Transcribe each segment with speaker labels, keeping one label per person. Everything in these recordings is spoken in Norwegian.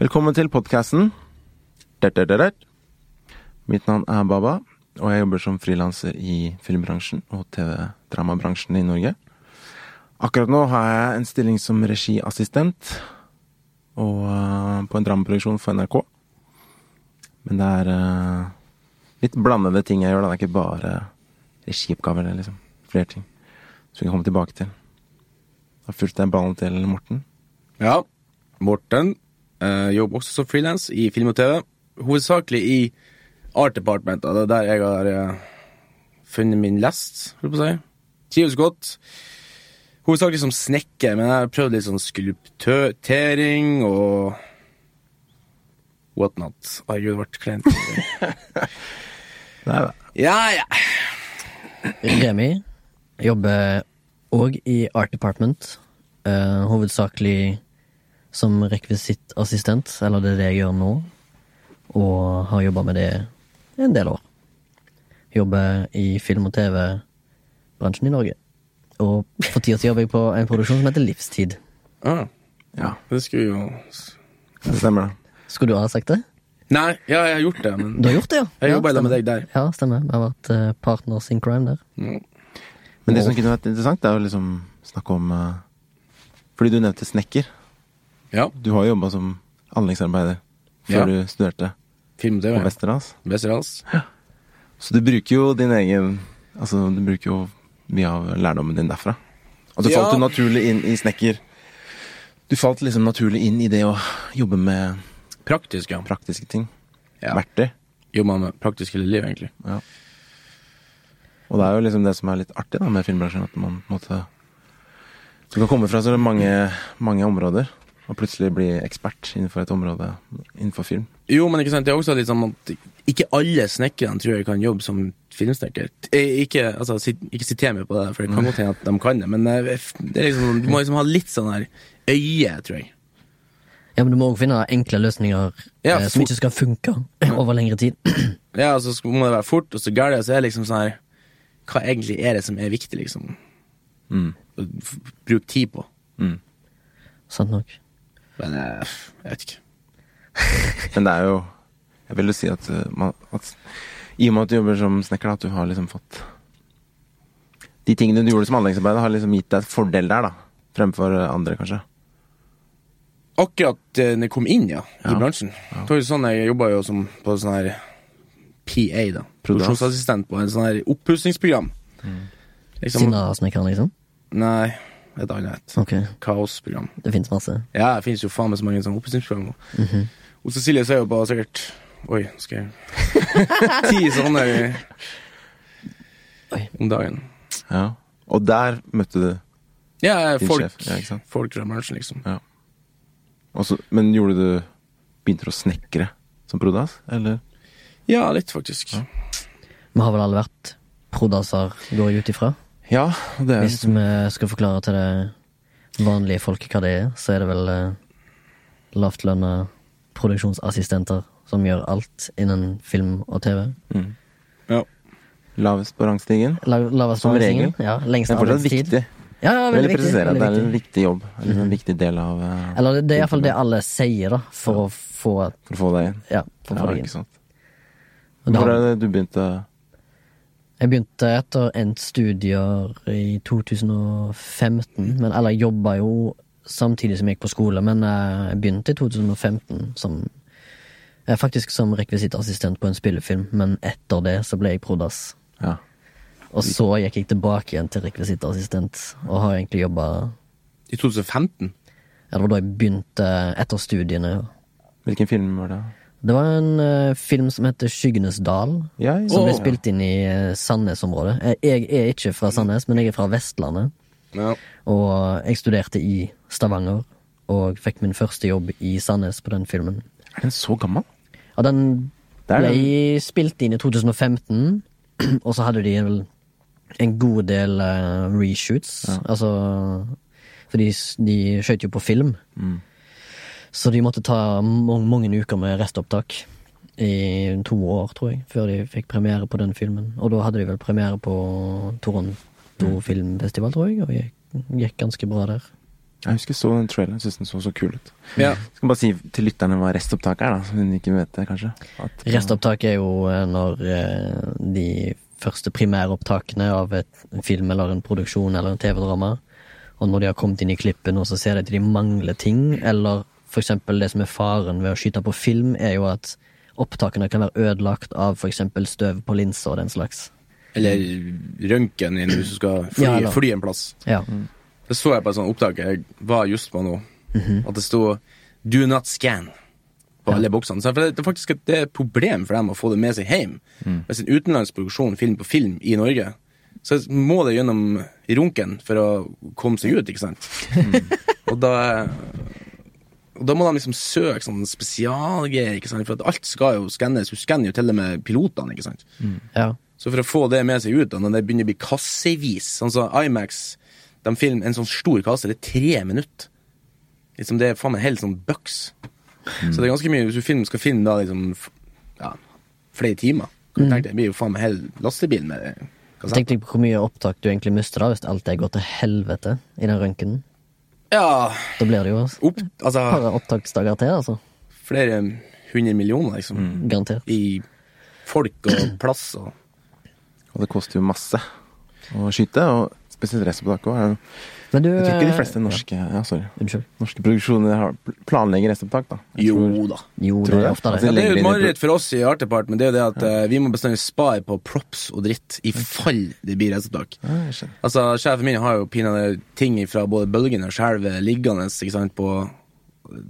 Speaker 1: Velkommen til podkasten. Mitt navn er Baba, og jeg jobber som frilanser i filmbransjen og TV-dramabransjen i Norge. Akkurat nå har jeg en stilling som regiassistent og eh, på en dramaproduksjon for NRK. Men det er eh, litt blandede ting jeg gjør. da. Det er ikke bare regioppgaver. Det er liksom flere ting som vi kan komme tilbake til. Da fulgte jeg ballen til Morten.
Speaker 2: Ja, Morten eh, jobber også som frilans i film og TV. Hovedsakelig i Art Department. og Det er der jeg har eh, funnet min lest, holdt på å si. Trives godt. Hovedsakelig som snekker, men jeg har prøvd litt sånn skulptering og whatnot. Herregud, det ble kleint.
Speaker 1: Det er det.
Speaker 2: ja, ja.
Speaker 3: Remi jobber òg i Art Department. eh, hovedsakelig som rekvisittassistent, eller det er det jeg gjør nå. Og har jobba med det en del år. Jobber i film- og TV-bransjen i Norge. Og for tida så jobber jeg på en produksjon som heter Livstid.
Speaker 2: Ah,
Speaker 1: Ja,
Speaker 2: det skulle jo
Speaker 1: det stemmer, det.
Speaker 3: Skulle du ha sagt det?
Speaker 2: Nei, ja, jeg har gjort det, men
Speaker 3: Du har gjort det, ja!
Speaker 2: Jeg
Speaker 3: ja,
Speaker 2: jobber i lag med
Speaker 3: stemmer.
Speaker 2: deg der.
Speaker 3: Ja, stemmer. Vi har vært eh, partners in crime der.
Speaker 2: Mm.
Speaker 1: Men det som kunne vært interessant, er å liksom snakke om eh, Fordi du nevnte snekker.
Speaker 2: ja.
Speaker 1: Du har jo jobba som anleggsarbeider før
Speaker 2: Ja.
Speaker 1: du studerte
Speaker 2: Film og
Speaker 1: på
Speaker 2: TV.
Speaker 1: Westerdals.
Speaker 2: Westerdals.
Speaker 1: Så du bruker jo din egen Altså, du bruker jo mye av lærdommen din derfra. Og du
Speaker 2: Ja.
Speaker 1: falt jo naturlig inn i snekker. Du falt liksom naturlig inn i det å jobbe med
Speaker 2: Praktisk, ja.
Speaker 1: praktiske ting.
Speaker 2: Ja.
Speaker 1: Verktøy.
Speaker 2: Jobber med praktisk hele livet, egentlig.
Speaker 1: Og det er jo liksom det som er litt artig da med filmbransjen, at man på en måte Du kan komme fra så mange, mange områder, og plutselig bli ekspert innenfor et område innenfor film.
Speaker 2: Jo, men ikke sant, det er også litt sånn at ikke alle snekkerne tror jeg kan jobbe som filmsnekker. Eh, Ikke, altså, sit, ikke siter meg på det, for det kan godt hende at de kan det, men eh, f- det er liksom, du må liksom ha litt sånn her øye, tror jeg.
Speaker 3: Ja, Men du må òg finne enkle løsninger
Speaker 2: Ja,
Speaker 3: eh, som
Speaker 2: for-
Speaker 3: ikke skal funke over lengre tid.
Speaker 2: Ja, og så sk- må det være fort, og så gærlig, og så er det liksom sånn her Hva egentlig er det som er viktig, liksom?
Speaker 1: Mm.
Speaker 2: Å f- bruke tid på.
Speaker 3: Sant nok.
Speaker 2: Men eh, jeg vet ikke.
Speaker 1: Men det er jo Jeg vil jo si at, uh, man, at i og med at du jobber som snekker, da, at du har liksom fått De tingene du gjorde som anleggsarbeider, har liksom gitt deg et fordel der, da. Fremfor uh, andre, kanskje.
Speaker 2: Akkurat eh, når jeg kom inn, ja, i
Speaker 1: Ja.
Speaker 2: bransjen. Det var jo sånn jeg jobba jo som på sånn her PA, da. Produksjonsassistent på en sånn her oppussingsprogram.
Speaker 1: Mm.
Speaker 2: Liksom-
Speaker 3: Sinna-snekkeren, liksom?
Speaker 2: Nei, et annet.
Speaker 3: Ok,
Speaker 2: Kaosprogram.
Speaker 3: det finnes masse.
Speaker 2: Ja, det finnes jo faen meg så mange sånne oppussingsprogram. Mm
Speaker 1: Mhm.
Speaker 2: Og Cecilie ser jo på sikkert Oi, nå skal jeg Ti sånne i-
Speaker 3: Oi.
Speaker 2: om dagen.
Speaker 1: Ja. Og der møtte du
Speaker 2: Ja,
Speaker 1: Din
Speaker 2: folk,
Speaker 1: sjef, ja, ikke sant?
Speaker 2: folk fra bransjen, liksom.
Speaker 1: og så- Men gjorde du Begynte du å snekre som prodas, eller?
Speaker 2: Ja, litt, faktisk.
Speaker 3: Vi har vel alle vært prodaser, går jeg ut ifra.
Speaker 1: Ja, det er
Speaker 3: Hvis vi skal forklare til det vanlige folket hva det er, så er det vel eh, lavtlønna produksjonsassistenter som gjør alt innen film og TV.
Speaker 2: Ja.
Speaker 1: lavest på rangstigen.
Speaker 3: La, lavest
Speaker 1: Som regel.
Speaker 3: behandlingen, Ja, lengst
Speaker 1: Det er fortsatt
Speaker 3: arbeidstid.
Speaker 1: viktig.
Speaker 3: Ja, ja,
Speaker 1: Jeg vil
Speaker 3: veldig viktig.
Speaker 1: presisere at det
Speaker 3: veldig
Speaker 1: er en
Speaker 3: viktig. Mhm.
Speaker 1: viktig jobb. Eller en viktig del av uh,
Speaker 3: Eller det, det er iallfall det alle sier, da, for å få
Speaker 1: For å få deg inn.
Speaker 3: Ja, for å
Speaker 1: Ja,
Speaker 3: få det
Speaker 1: ikke
Speaker 3: inn.
Speaker 1: sant.
Speaker 3: Og da-
Speaker 1: Hvor er det du begynte
Speaker 3: Jeg begynte etter endt studier i 2015, men, eller jeg jobba jo samtidig som jeg gikk på skole, men eh, jeg begynte i 2015 som eh, Faktisk som rekvisittassistent på en spillefilm, men etter det så ble jeg prodas.
Speaker 1: Ja.
Speaker 3: Og så gikk jeg tilbake igjen til rekvisittassistent, og har egentlig jobba
Speaker 2: I 2015?
Speaker 3: Ja, det var da jeg begynte etter studiene.
Speaker 1: Hvilken film var det?
Speaker 3: Det var en eh, film som heter Skyggenes dal,
Speaker 1: Ja, ja,
Speaker 3: som ble
Speaker 1: ja.
Speaker 3: spilt inn i eh, Sandnes-området. Jeg, jeg er ikke fra Sandnes, men jeg er fra Vestlandet.
Speaker 2: Ja.
Speaker 3: Og jeg studerte i Stavanger, og fikk min første jobb i Sandnes på den filmen.
Speaker 1: Er den så gammel?
Speaker 3: Og den
Speaker 1: Det er
Speaker 3: ble spilt inn i 2015, og så hadde de vel en god del eh, reshoots. Altså For de, s- de skjøt jo på film. Så de måtte ta mange, mange uker med restopptak. I to år, tror jeg, før de fikk premiere på den filmen. Og da hadde de vel premiere på Toronto Filmfestival, tror jeg, og gikk, gikk ganske bra der.
Speaker 1: Jeg husker jeg så den traileren. Jeg synes den så så kul ut.
Speaker 2: Ja.
Speaker 1: Skal bare si til lytterne hva restopptak er, da, som hun ikke vet det, kanskje. At,
Speaker 3: Restopptak er jo eh, når eh, de første primæropptakene av et en film eller en produksjon eller en TV-drama, og når de har kommet inn i klippen og så ser de at de mangler ting, eller for eksempel det som er faren ved å skyte på film, er jo at opptakene kan være ødelagt av for eksempel støv på linser og den slags.
Speaker 2: Eller røntgen i hvis du skal fly,
Speaker 3: Ja, eller-
Speaker 2: fly en plass.
Speaker 3: Ja.
Speaker 2: Det så jeg på et sånt opptak jeg var just på nå.
Speaker 3: Mhm.
Speaker 2: At det sto 'Do not scan' på alle boksene. Så for det, det er faktisk et det er et problem for dem å få det med seg hjem.
Speaker 3: Mm.
Speaker 2: Hvis en utenlandsk produksjon film på film i Norge, så må det gjennom runken for å komme seg ut, ikke sant?
Speaker 3: Mm.
Speaker 2: og da og da må de liksom søke sånn spesialgreier, ikke sant? for at alt skal jo skannes. Du skanner jo til og med pilotene. ikke sant?
Speaker 3: ja.
Speaker 2: Så for å få det med seg ut, da, når det begynner å bli kassevis Sånn som Imax, de filmer en sånn stor kasse, det er tre minutter. Liksom Det er faen meg en hel sånn bøks.
Speaker 1: Mm.
Speaker 2: Så det er ganske mye, hvis du film, skal filme da liksom f- ja, flere timer,
Speaker 1: Mm.
Speaker 2: kan du tenke deg, det blir jo faen meg en hel lastebil med kassett.
Speaker 3: Tenk deg på hvor mye opptak du egentlig mister da, hvis alt det går til helvete i den røntgenen.
Speaker 2: Ja,
Speaker 3: Da blir det jo et
Speaker 2: opp, altså
Speaker 3: par opptaksdager til, altså.
Speaker 2: flere hundre millioner, liksom.
Speaker 1: Mm.
Speaker 3: Garantert.
Speaker 2: I folk og plass og
Speaker 1: Og det koster jo masse å skyte, og spesielt restopptak òg. er jo-
Speaker 3: Men du
Speaker 1: Jeg tror ikke de
Speaker 3: eh,
Speaker 1: fleste norske ja, sorry.
Speaker 3: Unnskyld.
Speaker 1: Norske produksjoner har planlegger restopptak, da. Jeg
Speaker 2: Jo
Speaker 1: tror-
Speaker 2: da.
Speaker 3: Jo,
Speaker 1: Tror
Speaker 3: det er
Speaker 1: jeg.
Speaker 3: ofte det.
Speaker 1: Altså,
Speaker 2: Ja, det er jo
Speaker 1: legger
Speaker 2: et
Speaker 1: inn i
Speaker 2: mareritt for oss i Artepart, men det er jo det at eh, vi må bestandig spare på props og dritt
Speaker 1: Mm.
Speaker 2: i fall det blir reseopptak.
Speaker 1: Ja, jeg skjønner.
Speaker 2: Altså, sjefen min har jo pinadø ting fra både bølgen og skjelvet liggende ikke sant, på eh,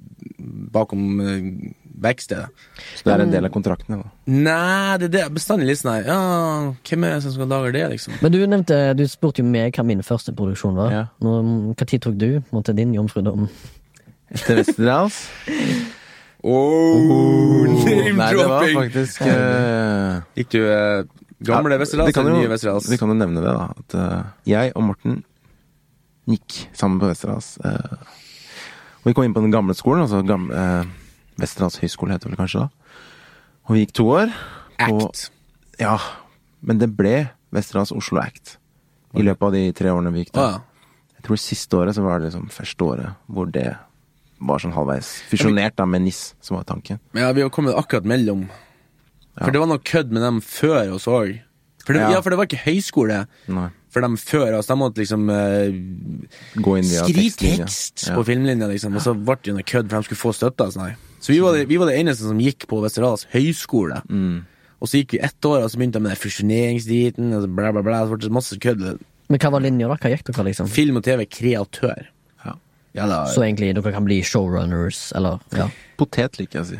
Speaker 2: bakom eh, verkstedet.
Speaker 1: Så det er en del av kontraktene, da.
Speaker 2: Nei, det er det bestandig litt sånn her Ja, hvem er det som skal lage det, liksom?
Speaker 3: Men du nevnte, du spurte jo meg hva min første produksjon var.
Speaker 1: Ja.
Speaker 3: Nå, hva tid tok du på en måte, din jomfrudom?
Speaker 1: Etter Westerdals
Speaker 2: Oh,
Speaker 1: Nei, det var faktisk eh,
Speaker 2: Gikk du eh, gamle
Speaker 1: ja, vi
Speaker 2: Westerdals
Speaker 1: kan
Speaker 2: eller
Speaker 1: jo-
Speaker 2: nye Westerdals?
Speaker 1: Vi kan jo nevne det, da. At eh, jeg og Morten gikk sammen på Westerdals. eh, og vi kom inn på den gamle skolen, altså gamle, eh, Westerdals høgskole heter det vel kanskje da. Og vi gikk to år. på-
Speaker 2: Act.
Speaker 1: Ja, men det ble Westerdals Oslo Act i løpet av de tre årene vi gikk
Speaker 2: Å
Speaker 1: der.
Speaker 2: Ah, ja.
Speaker 1: Jeg tror siste året så var det liksom første året hvor det var sånn halvveis fusjonert da med NIS, som var tanken.
Speaker 2: Men ja, vi har kommet akkurat mellom. For det var noe kødd med dem før oss òg. For, det-
Speaker 1: Ja.
Speaker 2: ja, for det var ikke høyskole
Speaker 1: Nei.
Speaker 2: for dem før oss. De måtte liksom eh,
Speaker 1: Gå inn via
Speaker 2: skrive
Speaker 1: tekstlinja.
Speaker 2: tekst
Speaker 1: Ja.
Speaker 2: på filmlinja, liksom. Og så ble det jo noe kødd, for de skulle få støtte. og sånn her. Så vi var, det, vi var det eneste som gikk på Westerdals høyskole.
Speaker 1: Mm.
Speaker 2: Og så gikk vi ett år, og så begynte de med den fusjoneringsdriten, og så bla, bla, bla. Så ble det masse kødd.
Speaker 3: Men hva var linja, da? Hva gikk dere, liksom?
Speaker 2: Film og TV, kreatør.
Speaker 1: Ja.
Speaker 2: Ja, da,
Speaker 3: Så egentlig dere kan bli showrunners, eller ja.
Speaker 1: Potet liker jeg å si.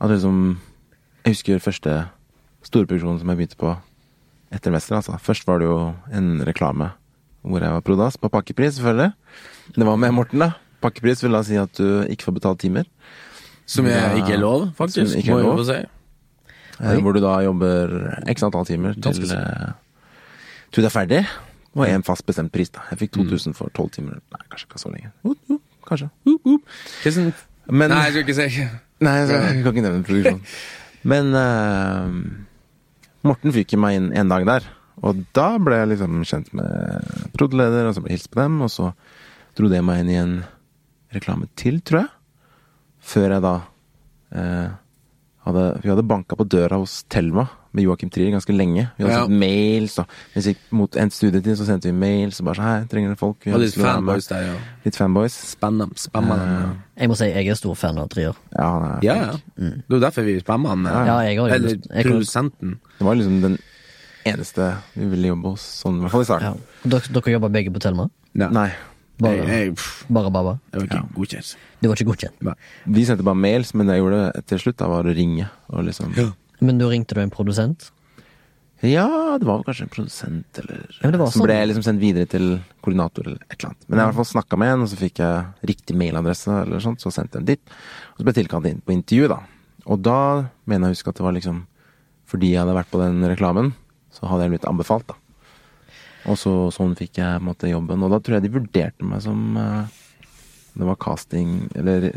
Speaker 1: At liksom Jeg husker første storproduksjonen som jeg begynte på etter Mester. Altså. Først var det jo en reklame hvor jeg var prodas, på pakkepris, selvfølgelig. Det var med Morten, da. Pakkepris vil da si at du ikke får betalt timer.
Speaker 2: som jeg ikke er lov, faktisk.
Speaker 1: Som ikke er
Speaker 2: må jeg
Speaker 1: lov.
Speaker 2: få si.
Speaker 1: Eh, hvor du da jobber x antall timer til,
Speaker 2: Ganske sikkert.
Speaker 1: eh, til du er ferdig. Og en fast bestemt pris, da. Jeg fikk
Speaker 2: Mm.
Speaker 1: 2000 for 12 timer. Nei, kanskje ikke så lenge. Jo, jo, kanskje. Jo, jo.
Speaker 2: Hvordan-
Speaker 1: Men
Speaker 2: Nei, jeg skal ikke si
Speaker 1: Nei, altså, jeg kan ikke nevne produksjonen. Men eh, Morten fikk jo meg inn en dag der. Og da ble jeg liksom kjent med prod.leder, og så ble jeg hilst på dem. Og så dro det meg inn i en reklame til, tror jeg. Før jeg da eh, hadde Vi hadde banka på døra hos Thelma med Joakim Trier ganske lenge. Vi hadde
Speaker 2: Ja.
Speaker 1: sendt mails, da. Hvis vi gikk mot endt studietid, så sendte vi mails og bare sånn Hei, trenger dere folk? Vi
Speaker 2: Og
Speaker 1: har
Speaker 2: litt
Speaker 1: lyst til å være med.»
Speaker 2: fanboys der, ja.
Speaker 1: Litt fanboys.
Speaker 2: Spennende. Spennende.
Speaker 3: Jeg må si jeg er stor fan av Trier.
Speaker 1: Ja, han er
Speaker 2: Ja, ja. Det er jo derfor vi spammer han. eh,
Speaker 3: Mm. Ja, jeg har jo
Speaker 2: Eller
Speaker 3: lyst- jeg kan-
Speaker 2: produsenten.
Speaker 1: Det var liksom den eneste vi ville jobbe hos, sånn, i hvert fall i
Speaker 3: Ja.
Speaker 1: starten.
Speaker 3: Dere, dere jobber begge på Thelma?
Speaker 1: Nei.
Speaker 3: Bare,
Speaker 2: Jeg, jeg, pff,
Speaker 3: bare baba?
Speaker 2: jeg var ikke godkjent.
Speaker 3: Du var ikke godkjent?
Speaker 2: Nei.
Speaker 1: Vi sendte bare mails, men det jeg gjorde til slutt, da var å ringe. Og liksom
Speaker 2: Ja.
Speaker 3: Men da ringte du en produsent?
Speaker 1: Ja, det var vel kanskje en produsent eller
Speaker 3: Ja, det var
Speaker 1: Som
Speaker 3: sånn.
Speaker 1: ble liksom sendt videre til koordinator eller et eller annet. Men jeg i hvert fall snakka med en, og så fikk jeg riktig mailadresse, eller sånt, så sendte jeg den dit. Og så ble jeg tilkalt inn på intervju, da. Og da mener jeg å huske at det var liksom fordi jeg hadde vært på den reklamen, så hadde jeg blitt anbefalt, da. Og så sånn fikk jeg på en måte jobben, og da tror jeg de vurderte meg som eh, Det var casting eller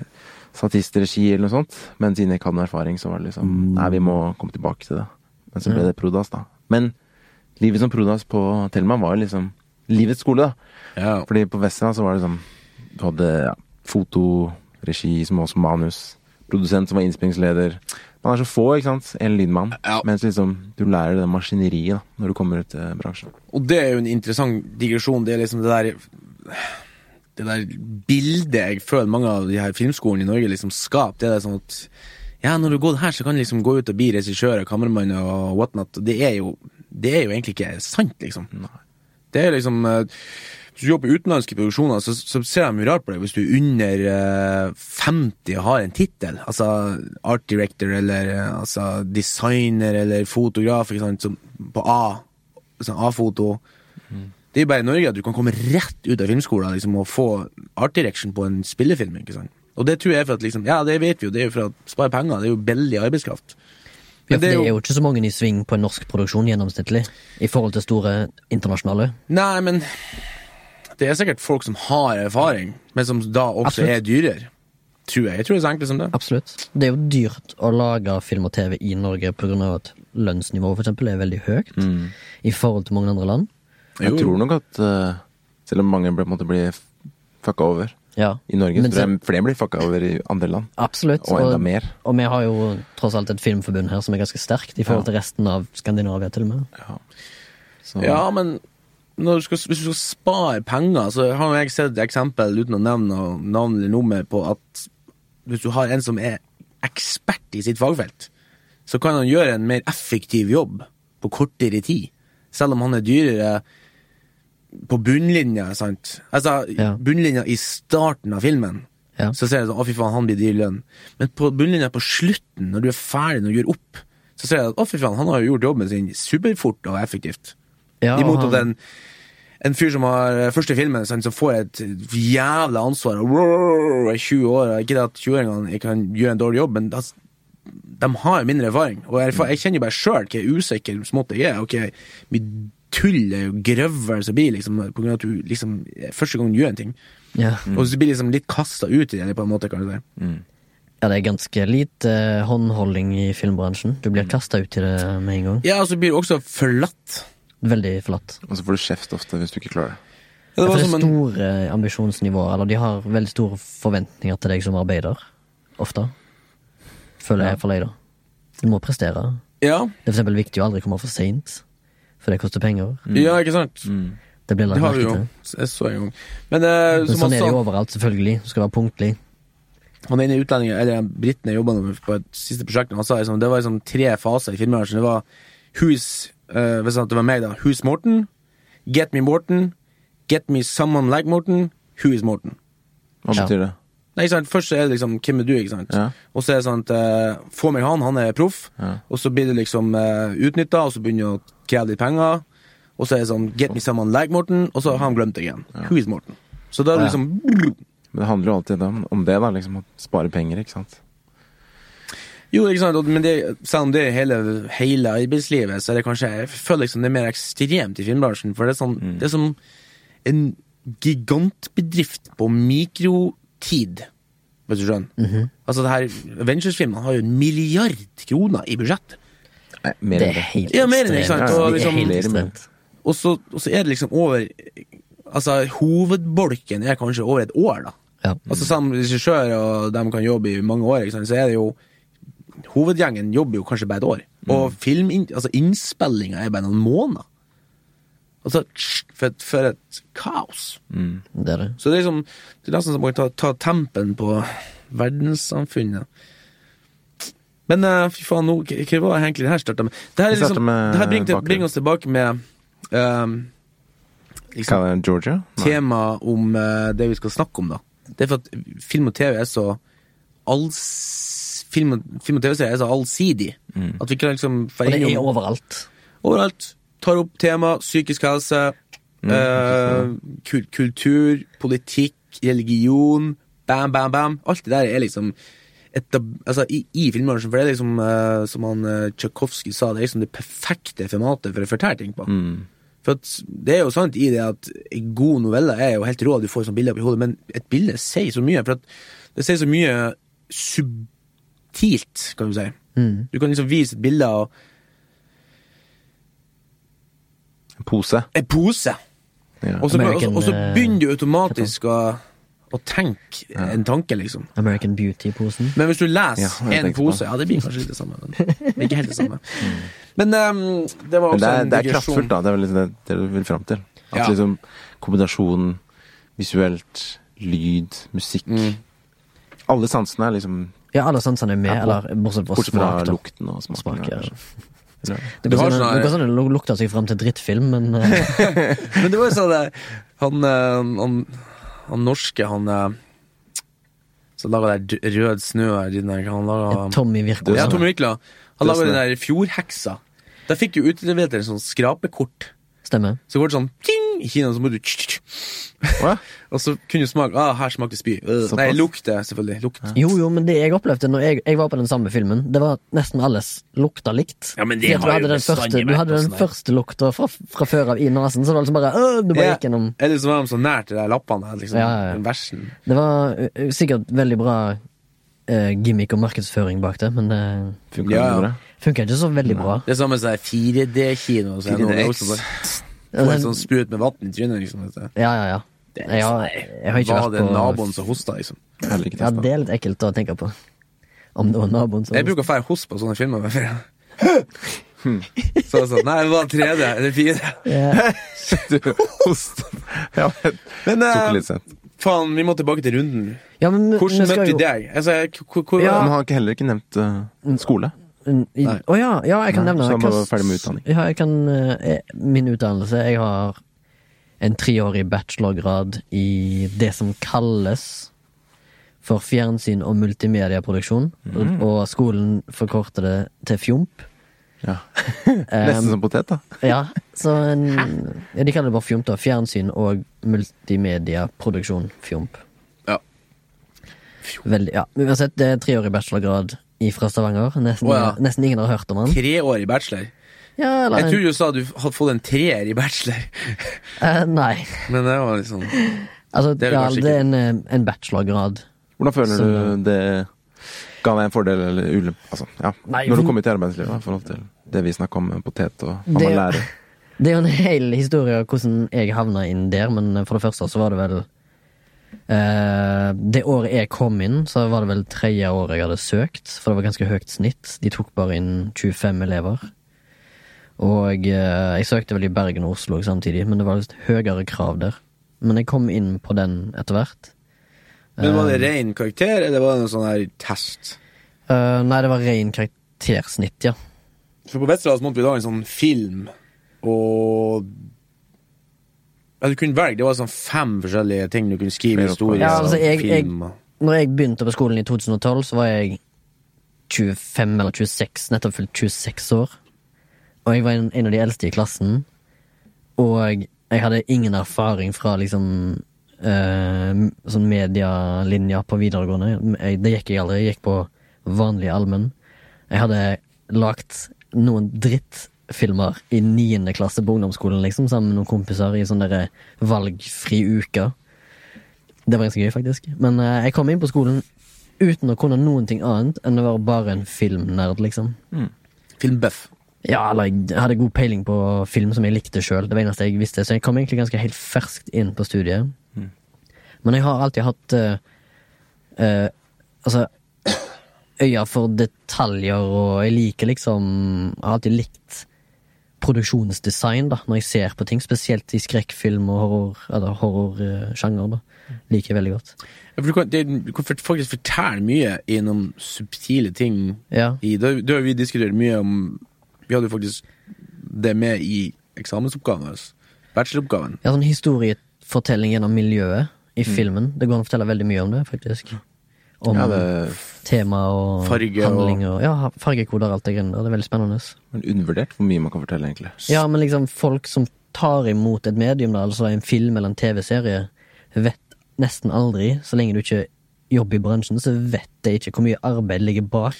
Speaker 1: statistregi eller noe sånt. Men siden jeg ikke hadde noen erfaring, så var det liksom
Speaker 2: Mm.
Speaker 1: Nei, vi må komme tilbake til det. Men så ble det Prodas, da. Men livet som Prodas på Thelma var jo liksom livets skole, da.
Speaker 2: Ja.
Speaker 1: Fordi på Vestland så var det sånn Du hadde ja, foto, regi som også manus, produsent som var innspillingsleder. Man er så få, ikke sant? En lydmann.
Speaker 2: Ja.
Speaker 1: Mens liksom, du lærer det maskineriet da, når du kommer ut til bransjen.
Speaker 2: Og det er jo en interessant digresjon. Det er liksom det der Det der bildet jeg føler mange av de her filmskolene i Norge liksom skaper. Det er sånn at ja, når du går her, så kan du liksom gå ut og bli regissør og kameramann og whatnot. Og det er jo Det er jo egentlig ikke sant, liksom. Det er liksom eh, Hvis du jobber i utenlandske produksjoner, så, så ser de jo rart på deg hvis du er under eh, 50 og har en tittel. Altså art director eller eh, altså, designer eller fotograf ikke sant? Som, på A. Sånn A-foto.
Speaker 3: Mm.
Speaker 2: Det er jo bare i Norge at du kan komme rett ut av filmskolen liksom, og få art direction på en spillefilm. ikke sant? Og det tror jeg er for at liksom, ja, det vet vi jo, det er jo for å spare penger. Det er jo billig arbeidskraft.
Speaker 3: Ja,
Speaker 2: Men
Speaker 3: for det er jo ikke så mange i sving på en norsk produksjon gjennomsnittlig, i forhold til store internasjonale.
Speaker 2: Nei, men det er sikkert folk som har erfaring, men som da også
Speaker 3: Absolutt.
Speaker 2: er dyrere. Tror jeg. Jeg tror det er så enkelt som det.
Speaker 3: Absolutt. Det er jo dyrt å lage film og TV i Norge pga. at lønnsnivået for eksempel, er veldig høyt i forhold til mange andre land.
Speaker 1: Jeg
Speaker 2: Jo.
Speaker 1: tror nok at eh, selv om mange ble, måtte bli f- fucka over
Speaker 3: Ja.
Speaker 1: i Norge,
Speaker 3: Men
Speaker 1: så tror jeg flere blir fucka over i andre land.
Speaker 3: Absolutt.
Speaker 1: Og enda mer.
Speaker 3: og vi har jo tross alt et filmforbund her som er ganske sterkt i forhold til resten av Skandinavia, til og med.
Speaker 1: Så,
Speaker 2: Ja, men når du skal, hvis du skal spare penger, så har jo jeg sett et eksempel, uten å nevne noe navn eller nummer, på at hvis du har en som er ekspert i sitt fagfelt, så kan han gjøre en mer effektiv jobb på kortere tid. Selv om han er dyrere på bunnlinja, sant. Altså,
Speaker 3: Ja.
Speaker 2: bunnlinja i starten av filmen.
Speaker 3: Ja.
Speaker 2: Så ser jeg sånn, å fy faen, han blir dyr lønn. Men på bunnlinja på slutten, når du er ferdig, når du gjør opp, så ser jeg at å fy faen, han har jo gjort jobben sin superfort og effektivt.
Speaker 3: Ja, og
Speaker 2: Imot
Speaker 3: han-
Speaker 2: at en, en fyr som har eh, første filmen, sant, som får et jævla ansvar og rrrr, er 20 år, og ikke det at 20-åringene ikke kan gjøre en dårlig jobb, men altså, de har jo mindre erfaring. Og jeg, jeg kjenner jo bare sjøl hvor usikker smått jeg er. Ok, mye tull er jo grøvel som blir, liksom, på grunn av at du liksom første gang du gjør en ting.
Speaker 3: Ja.
Speaker 2: Og så blir liksom litt kasta ut i det, på en måte, kan du si.
Speaker 3: ja, det er ganske lite eh, håndholding i filmbransjen. Du blir kasta ut i det med en gang.
Speaker 2: Ja, og så blir du også forlatt.
Speaker 3: Veldig forlatt.
Speaker 1: Og så får du kjeft ofte hvis du ikke klarer det.
Speaker 2: Ja,
Speaker 3: Det
Speaker 2: var
Speaker 3: er
Speaker 2: som en-
Speaker 3: store ambisjonsnivåer, eller de har veldig store forventninger til deg som arbeider. Ofte. Føler jeg for deg, da. Du må prestere.
Speaker 2: ja,
Speaker 3: Det er for eksempel viktig å aldri komme for seint, for det koster penger.
Speaker 2: ja, ikke sant?
Speaker 3: Det blir
Speaker 2: Mm. Det
Speaker 3: lagt
Speaker 2: har vi
Speaker 3: merke
Speaker 2: jo.
Speaker 3: til.
Speaker 2: Jeg så en gang. Men, eh,
Speaker 3: Men
Speaker 2: som han
Speaker 3: sånn er det
Speaker 2: sa,
Speaker 3: jo overalt, selvfølgelig. Du skal være punktlig.
Speaker 2: han ene utlendingen, eller briten jeg jobba med på et siste prosjekt, han sa liksom, det var liksom tre faser i filmbransjen. Det var Who's eh, Hvis det var meg, da. Who's Morten? Get me Morten. Get me someone like Morten. Who is Morten?
Speaker 1: Hva
Speaker 3: Ja.
Speaker 1: betyr det?
Speaker 2: Nei, ikke sant? Først så er det liksom Hvem er du? ikke sant?
Speaker 1: Ja.
Speaker 2: Og så er det sånn at eh, Få meg han, han er proff. Og så blir det liksom uh, utnytta, og så begynner jeg å kreve litt penger. Og så er det sånn Get me someone like Morten, og så har han glemt det igjen. Who is Morten? Så da er det
Speaker 3: Ja.
Speaker 2: liksom
Speaker 1: Men det handler jo alltid om, om det, da. Liksom, å spare penger, ikke sant.
Speaker 2: Jo, ikke sant, og- men det, selv om det er hele, hele arbeidslivet, så er det kanskje Jeg føler liksom det er mer ekstremt i filmbransjen, for det er sånn Det er som en gigantbedrift på mikrotid, hvis du skjønner. Altså, det her Ventures-filmene har jo en milliard kroner i budsjett.
Speaker 1: Nei, mer
Speaker 3: Det
Speaker 1: enn
Speaker 3: er
Speaker 1: det.
Speaker 3: helt
Speaker 2: Ja, mer enn det, ikke sant?
Speaker 3: ekstremt.
Speaker 2: Og
Speaker 3: Det
Speaker 2: liksom-
Speaker 3: er helt
Speaker 1: Flere mer.
Speaker 3: ekstremt.
Speaker 2: Og så, og så er det liksom over Altså, hovedbolken er kanskje over et år, da.
Speaker 3: Ja.
Speaker 2: Altså Som regissør og de kan jobbe i mange år, ikke sant? så er det jo Hovedgjengen jobber jo kanskje bare et år.
Speaker 1: Mm.
Speaker 2: Og film, altså innspillinga er bare noen måneder. Altså, tss, for et, for et kaos.
Speaker 1: Mm.
Speaker 3: Det er det.
Speaker 2: Så det er liksom Det er nesten som å ta, ta tempen på verdenssamfunnet. Men eh, fy faen, nå, hva hva var det egentlig det her starta med? Det her, er
Speaker 1: Vi startet
Speaker 2: liksom,
Speaker 1: med
Speaker 2: det her bringer,
Speaker 1: bakgrunn.
Speaker 2: bringer oss tilbake med eh,
Speaker 1: Hva er det, Georgia? Nei.
Speaker 2: tema om eh, det vi skal snakke om, da. Det er for at film og TV er så alls... Film, og- film og TV-serier er så allsidig. At vi kan liksom
Speaker 3: Mm. Og
Speaker 2: være
Speaker 3: det er
Speaker 2: innom
Speaker 3: overalt.
Speaker 2: overalt. Tar opp tema psykisk helse, eh, kul kultur, politikk, religion. Bam, bam, bam. Alt det der er liksom etab altså, i, i filmbransjen, for det er liksom, eh, som han uh, Tsjajkovskij sa, det er liksom det perfekte formatet for å fortelle ting på. For at, Det er jo sant i det at en god novelle er jo helt rå, du får sånn bilde opp i hodet, men et bilde sier så mye. For at det sier så mye subtilt, kan du si. Du kan liksom vise et bilde av
Speaker 1: Pose.
Speaker 2: en pose,
Speaker 1: Ja.
Speaker 2: og så, og, så,
Speaker 3: American,
Speaker 2: og så
Speaker 3: eh,
Speaker 2: begynner du automatisk å, å tenke en tanke, liksom.
Speaker 3: American Beauty-posen.
Speaker 2: Men hvis du
Speaker 1: Ja,
Speaker 2: leser
Speaker 1: jeg
Speaker 2: en
Speaker 1: tenkte på
Speaker 2: pose, ja, det blir kanskje litt det samme. Men det er ikke helt det samme. Mm. Men ehm, det var
Speaker 1: Men
Speaker 2: også
Speaker 1: det er,
Speaker 2: en
Speaker 1: det er
Speaker 2: digresjon.
Speaker 1: kraftfullt, da. Det er vel liksom det, det du vil fram til. At
Speaker 2: Ja.
Speaker 1: liksom kombinasjonen visuelt, lyd, musikk
Speaker 3: Mm.
Speaker 1: Alle sansene er liksom
Speaker 3: Ja, alle sansene er med,
Speaker 1: Ja,
Speaker 3: eller bortsett fra
Speaker 1: Bortsett fra
Speaker 3: smak. da.
Speaker 1: lukten og smaken.
Speaker 3: Smak, ja.
Speaker 1: kanskje. Eller-
Speaker 3: Det
Speaker 2: Du
Speaker 3: går
Speaker 2: har
Speaker 3: sånn
Speaker 2: sånn her-
Speaker 3: det går sånn det lu- lukter seg fram til drittfilm, men eh,
Speaker 2: Men det var jo sånn eh, han, eh, han, han norske, han eh, som laga det der d- Rød snø her, den der, han laga
Speaker 3: Tommy sånn. Virko.
Speaker 1: sånn.
Speaker 2: Ja, Tommy Rikla. Han
Speaker 1: Rød
Speaker 2: laga den
Speaker 1: Snø.
Speaker 2: der Fjordheksa. Da fikk du utlevert en sånn skrapekort.
Speaker 3: Stemmer.
Speaker 2: Så går det sånn ting i Kina, så må du tsk, tsk, tsk.
Speaker 1: Hva?
Speaker 2: Og så kunne du smake ah, her smaker det spy. Øh,
Speaker 1: Såpass.
Speaker 2: Nei, lukt det, selvfølgelig. Lukt. Ja.
Speaker 3: Jo, jo, men det jeg opplevde når jeg, jeg var på den samme filmen, det var at nesten alles lukta likt.
Speaker 2: Ja, men det
Speaker 3: Fordi
Speaker 2: har
Speaker 3: at du
Speaker 2: jo
Speaker 3: hadde den
Speaker 2: bestandig
Speaker 3: første, du
Speaker 2: vært
Speaker 3: hadde den
Speaker 2: sånn her.
Speaker 3: første lukta fra, fra før av i nesen, så det var liksom bare øh, Du bare gikk gjennom
Speaker 2: Eller så var de så nær til de lappene. her, Liksom,
Speaker 3: Ja, ja, ja.
Speaker 2: den versen.
Speaker 3: Det var ø, ø, sikkert veldig bra eh, gimmick og markedsføring bak det, men det
Speaker 1: Funker
Speaker 2: Ja, ja.
Speaker 1: det bra?
Speaker 3: funka ikke så veldig bra.
Speaker 2: Det er samme som 4D-kino. Så er det noen
Speaker 1: 4DX.
Speaker 2: også bare-
Speaker 3: Ja,
Speaker 2: Får en
Speaker 3: den-
Speaker 2: sånn sprut med vann i trynet. Liksom, vet du.
Speaker 3: Ja, ja, ja.
Speaker 2: Det er
Speaker 3: Jeg har,
Speaker 2: sånn, nei,
Speaker 3: jeg har ikke
Speaker 2: Var det
Speaker 3: vært på
Speaker 2: naboen som hosta, liksom?
Speaker 1: Jeg har ikke
Speaker 3: Ja,
Speaker 1: testet.
Speaker 3: det er litt ekkelt å tenke på. Om det var naboen som
Speaker 2: Jeg bruker feil host på sånne filmer. Med Hmm. så jeg sa nei, det var 3D eller 4D.
Speaker 3: Ja.
Speaker 1: Du host. Ja, men
Speaker 2: Men
Speaker 1: tok
Speaker 2: eh,
Speaker 1: litt sent.
Speaker 2: faen, vi må tilbake til runden.
Speaker 3: Ja, men vi- vi
Speaker 2: Hvordan
Speaker 3: skal
Speaker 2: møtte
Speaker 3: jo-
Speaker 2: vi deg? Altså, hvor, hvor,
Speaker 1: Men han har ikke heller ikke nevnt eh, skole.
Speaker 3: Mm, i- Å
Speaker 2: Nei.
Speaker 3: ja, ja, jeg kan
Speaker 1: Nei,
Speaker 3: nevne
Speaker 1: så han
Speaker 3: hva
Speaker 1: var
Speaker 3: s-
Speaker 1: ferdig med utdanning.
Speaker 3: Ja, jeg kan, eh, eh, min utdannelse Jeg har en treårig bachelorgrad i det som kalles for fjernsyn- og multimedieproduksjon.
Speaker 1: Mm.
Speaker 3: Og, og skolen forkorter det til fjomp.
Speaker 1: Ja.
Speaker 3: Eh,
Speaker 1: Nesten som potet, da.
Speaker 3: Ja, så en, ja, De kaller det bare fjomp, da. Fjernsyn- og multimedieproduksjon. Fjomp.
Speaker 2: Ja.
Speaker 3: Veldig, ja. Men Uansett, det er en treårig bachelorgrad i- fra Stavanger. Nesten,
Speaker 2: Å, ja.
Speaker 3: nesten ingen har hørt om han.
Speaker 2: Tre år i bachelor.
Speaker 3: Ja, eller,
Speaker 2: Jeg trodde du sa du hadde fått en treer i bachelor,
Speaker 3: eh, nei.
Speaker 2: men det var liksom Det
Speaker 3: Altså,
Speaker 2: er
Speaker 3: det
Speaker 2: det
Speaker 3: er, ja,
Speaker 2: kanskje
Speaker 3: det er en, eh, en bachelorgrad.
Speaker 1: Hvordan føler
Speaker 3: Så-
Speaker 1: du det ga deg en fordel eller ulempe? Altså, ja.
Speaker 3: Nei,
Speaker 1: Når du
Speaker 3: for-
Speaker 1: kom ut i arbeidslivet, da, i forhold til det vi snakka om med potet og han var
Speaker 3: Det-
Speaker 1: lærer.
Speaker 3: Det er jo en hel historie av hvordan jeg havna inn der, men for det første så var det vel eh, Det året jeg kom inn, så var det vel tredje året jeg hadde søkt, for det var ganske høyt snitt. De tok bare inn 25 elever. Og eh, jeg søkte vel i Bergen og Oslo samtidig, men det var litt høyere krav der. Men jeg kom inn på den etter hvert.
Speaker 2: Men var det ren karakter, eller var det noe sånn her test?
Speaker 3: Eh, nei, det var ren karaktersnitt, ja.
Speaker 2: For på Vesterålen måtte vi lage en sånn film, og ja, Du kunne velge. Det var sånn fem forskjellige ting du kunne skrive.
Speaker 1: Flere
Speaker 2: Historie,
Speaker 1: oppgaver.
Speaker 3: Ja, altså, jeg- jeg-
Speaker 2: film, og-
Speaker 3: Når jeg begynte på skolen i 2012, så var jeg 25 eller 26, nettopp fylt 26 år. Og jeg var en, en av de eldste i klassen. Og jeg hadde ingen erfaring fra liksom eh, m- sånn medialinja på videregående. Jeg, det gikk jeg aldri. Jeg gikk på vanlig allmenn. Jeg hadde lagt noen drittfilmer i niende klasse på ungdomsskolen, liksom, sammen med noen kompiser i sånn derre valgfri uke. Det var ganske gøy, faktisk. Men eh, jeg kom inn på skolen uten å kunne noen ting annet enn å være bare en filmnerd, liksom.
Speaker 2: Filmbuff.
Speaker 3: Ja, eller jeg hadde god peiling på film som jeg likte sjøl. Det var eneste jeg visste. Så jeg kom egentlig ganske helt ferskt inn på studiet. Men jeg har alltid hatt eh, eh, Altså øya for detaljer, og jeg liker liksom Jeg har alltid likt produksjonsdesign, da, når jeg ser på ting. Spesielt i skrekkfilm og horror, eller horrorsjanger, da. Liker jeg veldig godt.
Speaker 2: Ja, for du, kan, det, du kan fort- faktisk fortelle mye gjennom subtile ting.
Speaker 3: Ja.
Speaker 2: I, da, da har vi diskutert mye om Vi hadde jo faktisk det med i eksamensoppgaven vår. Bacheloroppgaven.
Speaker 3: Ja, sånn historiefortelling gjennom miljøet i filmen. Det går an å fortelle veldig mye om det, faktisk. Om
Speaker 1: Ja, det
Speaker 3: tema og
Speaker 2: Farge og-
Speaker 3: handling og, Ja, fargekoder og alt det greiene der. Det er veldig spennende.
Speaker 1: er undervurdert hvor mye man kan fortelle, egentlig.
Speaker 3: Ja, men liksom folk som tar imot et medium, da, altså en film eller en TV-serie, vet nesten aldri, så lenge du ikke jobber i bransjen, så vet de ikke hvor mye arbeid ligger bak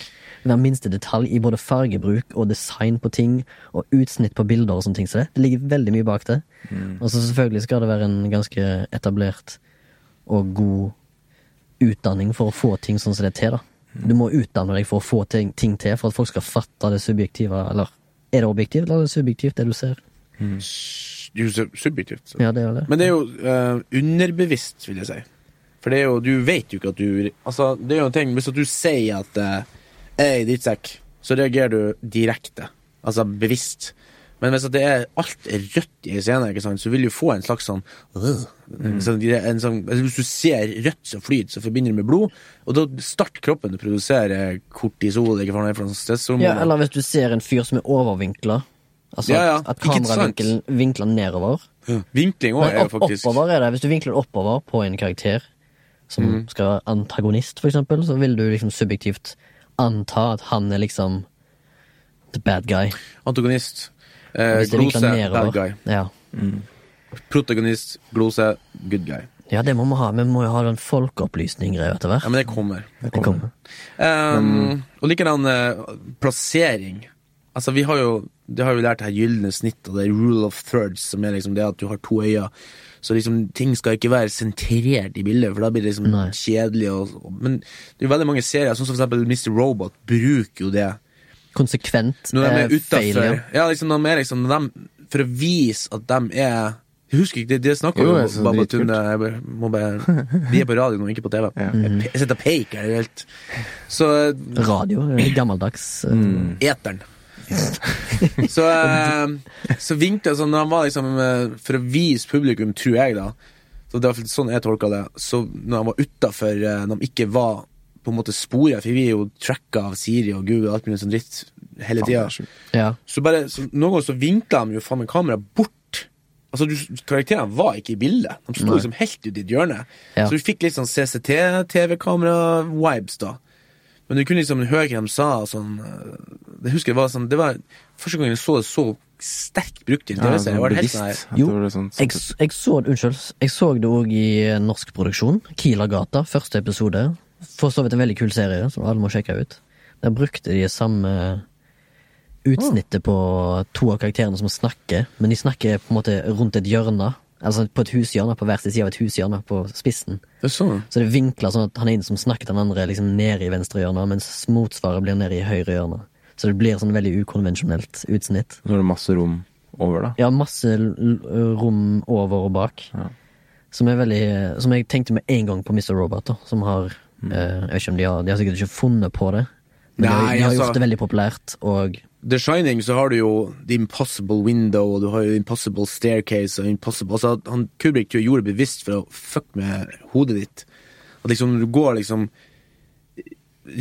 Speaker 3: hver minste detalj i både fargebruk og design på ting, og utsnitt på bilder og sånne ting. Så det, det ligger veldig mye bak det. Og så selvfølgelig skal det være en ganske etablert og god utdanning for å få ting sånn som det er til, da.
Speaker 2: Mm.
Speaker 3: Du må utdanne deg for å få ting, ting til, for at folk skal fatte det subjektive, eller er det objektivt, eller er det subjektivt, det du ser?
Speaker 2: Mm. Det er jo sub- subjektivt. så.
Speaker 3: Ja, det er jo det.
Speaker 2: Men det er jo eh, underbevisst, vil jeg si. For det er jo, du vet jo ikke at du Altså, det er jo en ting Hvis at du sier at eh, 'jeg er drittsekk', så reagerer du direkte. Altså bevisst. Men hvis at det er alt er rødt i en scene, ikke sant, så vil du få en slags sånn, øh,
Speaker 3: Mm.
Speaker 2: en sånn, gre- en sånn altså Hvis du ser rødt som flyter, så forbinder det med blod, og da starter kroppen å produsere kortisol. Ikke for noe, for noe stresshormon.
Speaker 3: Ja, eller hvis du ser en fyr som er overvinkla. Altså
Speaker 2: Ja, ja.
Speaker 3: at, at
Speaker 2: Ikke sant?
Speaker 3: kameravinkelen vinkler nedover.
Speaker 2: Vinkling òg
Speaker 3: Men
Speaker 2: er jo
Speaker 3: opp,
Speaker 2: faktisk
Speaker 3: oppover er det. Hvis du vinkler den oppover på en karakter som
Speaker 2: Mm.
Speaker 3: skal være antagonist, for eksempel, så vil du liksom subjektivt anta at han er liksom the bad guy.
Speaker 2: Antagonist. Eh,
Speaker 3: Hvis det
Speaker 2: glose,
Speaker 3: vinkler
Speaker 2: bad guy.
Speaker 3: nedover. Ja.
Speaker 2: Protagonist, glose, good guy.
Speaker 3: ja, det må vi ha. Vi må jo ha den folkeopplysning-greia etter
Speaker 2: Ja,
Speaker 3: hvert.
Speaker 2: men det kommer.
Speaker 3: Det kommer.
Speaker 2: Um, og likedan eh, plassering. Altså, vi har jo, det har vi lært her gylne snitt, og det er rule of thirds, som er liksom det at du har to øyne. Så liksom, ting skal ikke være sentrert i bildet, for da blir det liksom
Speaker 3: Nei.
Speaker 2: kjedelig. Og, og, men det er jo veldig mange serier, sånn som for eksempel Mr. Robot, bruker jo det.
Speaker 3: Konsekvent
Speaker 2: Når de
Speaker 3: eh,
Speaker 2: er utafor.
Speaker 3: failure.
Speaker 2: Ja, liksom, de er liksom de, For å vise at de er Jeg husker ikke, det, det snakker
Speaker 1: Jo,
Speaker 2: jo
Speaker 1: jeg synes det er
Speaker 2: Baba
Speaker 1: dritkult.
Speaker 2: Tunde jeg bare- må bare, De er på radio nå, ikke på TV.
Speaker 1: Ja.
Speaker 2: Jeg, pe- jeg sitter og peker, det er jo helt Så
Speaker 3: Radio. eh, Gammeldags. eh,
Speaker 2: Mm. eteren. så, eh, så vinklet sånn når han var liksom eh, For å vise publikum, tror jeg, da Så det var sånn jeg tolka det. Så når han var utafor, når han ikke var på en måte sporet For vi er jo tracka av Siri og Google og alt mulig sånn dritt hele
Speaker 1: Faen, det
Speaker 2: tida.
Speaker 1: er sjukt.
Speaker 3: Ja.
Speaker 2: Så bare, så noen ganger så vinkla de jo faen meg kameraet bort. Altså, du, Karakterene var ikke i bildet. De sto
Speaker 3: Nei.
Speaker 2: liksom helt ute i et hjørne.
Speaker 3: Ja.
Speaker 2: Så du fikk litt sånn CCT-TV-kamera-vibes, da. Men du kunne liksom høre hva de sa. og sånn eh, Jeg husker det var sånn Det var første gang jeg så det så sterkt brukt i en
Speaker 1: Ja,
Speaker 2: TV-serie.
Speaker 1: sånn
Speaker 2: Jeg var helt sånn her
Speaker 1: bevisst. at
Speaker 3: Jo,
Speaker 1: det var sånn-
Speaker 3: Jeg, s- jeg så Unnskyld. Jeg så det òg i eh, norsk produksjon. Kilergata, første episode. For så vidt en veldig kul serie som alle må sjekke ut. Der brukte de samme utsnittet på to av karakterene som snakker, men de snakker på en måte rundt et hjørne. Altså på et hushjørne på hver sin side av et hushjørne på spissen.
Speaker 2: Det er sånn.
Speaker 3: Så det vinkler sånn at han ene som snakker til den andre, er liksom nede i venstre hjørne, mens motsvaret blir nede i høyre hjørne. Så det blir sånn veldig ukonvensjonelt utsnitt.
Speaker 1: Nå er det masse rom over, da.
Speaker 3: Ja, masse l- l- rom over og bak. Som, er veldig, som jeg tenkte med en gang på Mr. Robot, da, som har
Speaker 2: Mm.
Speaker 3: eh, Jeg vet ikke om de har De har sikkert ikke funnet på det, men de, har-
Speaker 2: Nei,
Speaker 3: de har
Speaker 2: altså-
Speaker 3: gjort det veldig populært, og
Speaker 2: The Shining så har du jo The Impossible Window, og du har jo Impossible Staircase og Impossible Altså, han Kubrick tror jeg gjorde det bevisst for å fuck med hodet ditt. At liksom når du går liksom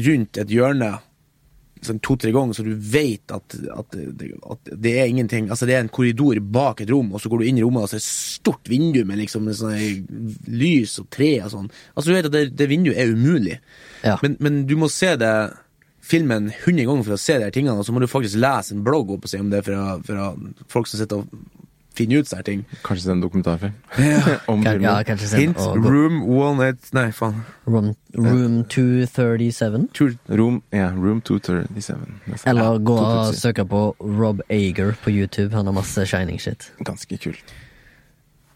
Speaker 2: rundt et hjørne sånn to-tre ganger, så du vet at, at, det- at det er ingenting Altså, det er en korridor bak et rom, og så går du inn i rommet, og så er det et stort vindu med liksom med sånne lys og tre og sånn. Altså, du vet at det, det vinduet er umulig.
Speaker 3: Ja.
Speaker 2: Men, men du må se det filmen 100 ganger for å se de her tingene, og så må du faktisk lese en blogg opp og se om det er fra, fra folk som sitter og finner ut sånne her ting.
Speaker 1: Kanskje se en dokumentarfilm om
Speaker 3: kan,
Speaker 1: filmen.
Speaker 3: ja, kanskje se
Speaker 2: Hint,
Speaker 3: og, gå-
Speaker 2: room, one, eight, nei, faen.
Speaker 3: Room, room 237.
Speaker 2: Tur,
Speaker 1: Room, ja, room 237. nesten.
Speaker 3: Eller
Speaker 1: Ja,
Speaker 3: gå og
Speaker 1: 237.
Speaker 3: søke på Rob Ager på YouTube. Han har masse shining shit.
Speaker 1: Ganske kult.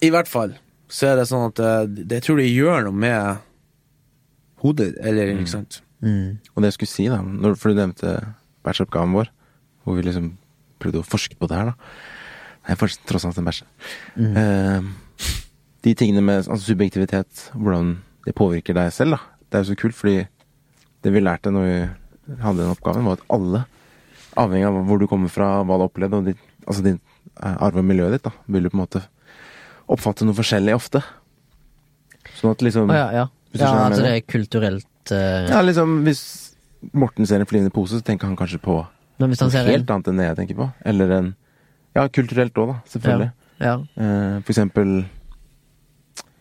Speaker 2: I hvert fall så er det sånn at eh, det, jeg tror det gjør noe med hodet, eller
Speaker 1: Mm.
Speaker 2: ikke sant. Mm.
Speaker 1: Og det jeg skulle si, da, når, for du nevnte bacheloroppgaven vår, hvor vi liksom prøvde å forske på det her, da. Det er faktisk tross alt en bæsj.
Speaker 3: Mm.
Speaker 1: Eh, de tingene med altså, subjektivitet, hvordan det påvirker deg selv, da. Det er jo så kult, fordi det vi lærte når vi hadde den oppgaven, var at alle, avhengig av hvor du kommer fra, hva du opplevde, og ditt, altså din eh, arv og miljøet ditt, da, vil du på en måte oppfatte noe forskjellig ofte. Sånn at liksom
Speaker 3: Å ja, ja.
Speaker 1: Hvis du
Speaker 3: ja
Speaker 1: skjønner hva jeg
Speaker 3: altså det
Speaker 1: mener.
Speaker 3: er kulturelt eh,
Speaker 1: Ja, liksom Hvis Morten ser en flyvende pose, så tenker han kanskje på
Speaker 3: Men hvis han
Speaker 1: noe
Speaker 3: ser en
Speaker 1: helt annet enn det jeg tenker på. Eller en Ja, kulturelt òg, da. Selvfølgelig.
Speaker 3: ja,
Speaker 1: Eh, for eksempel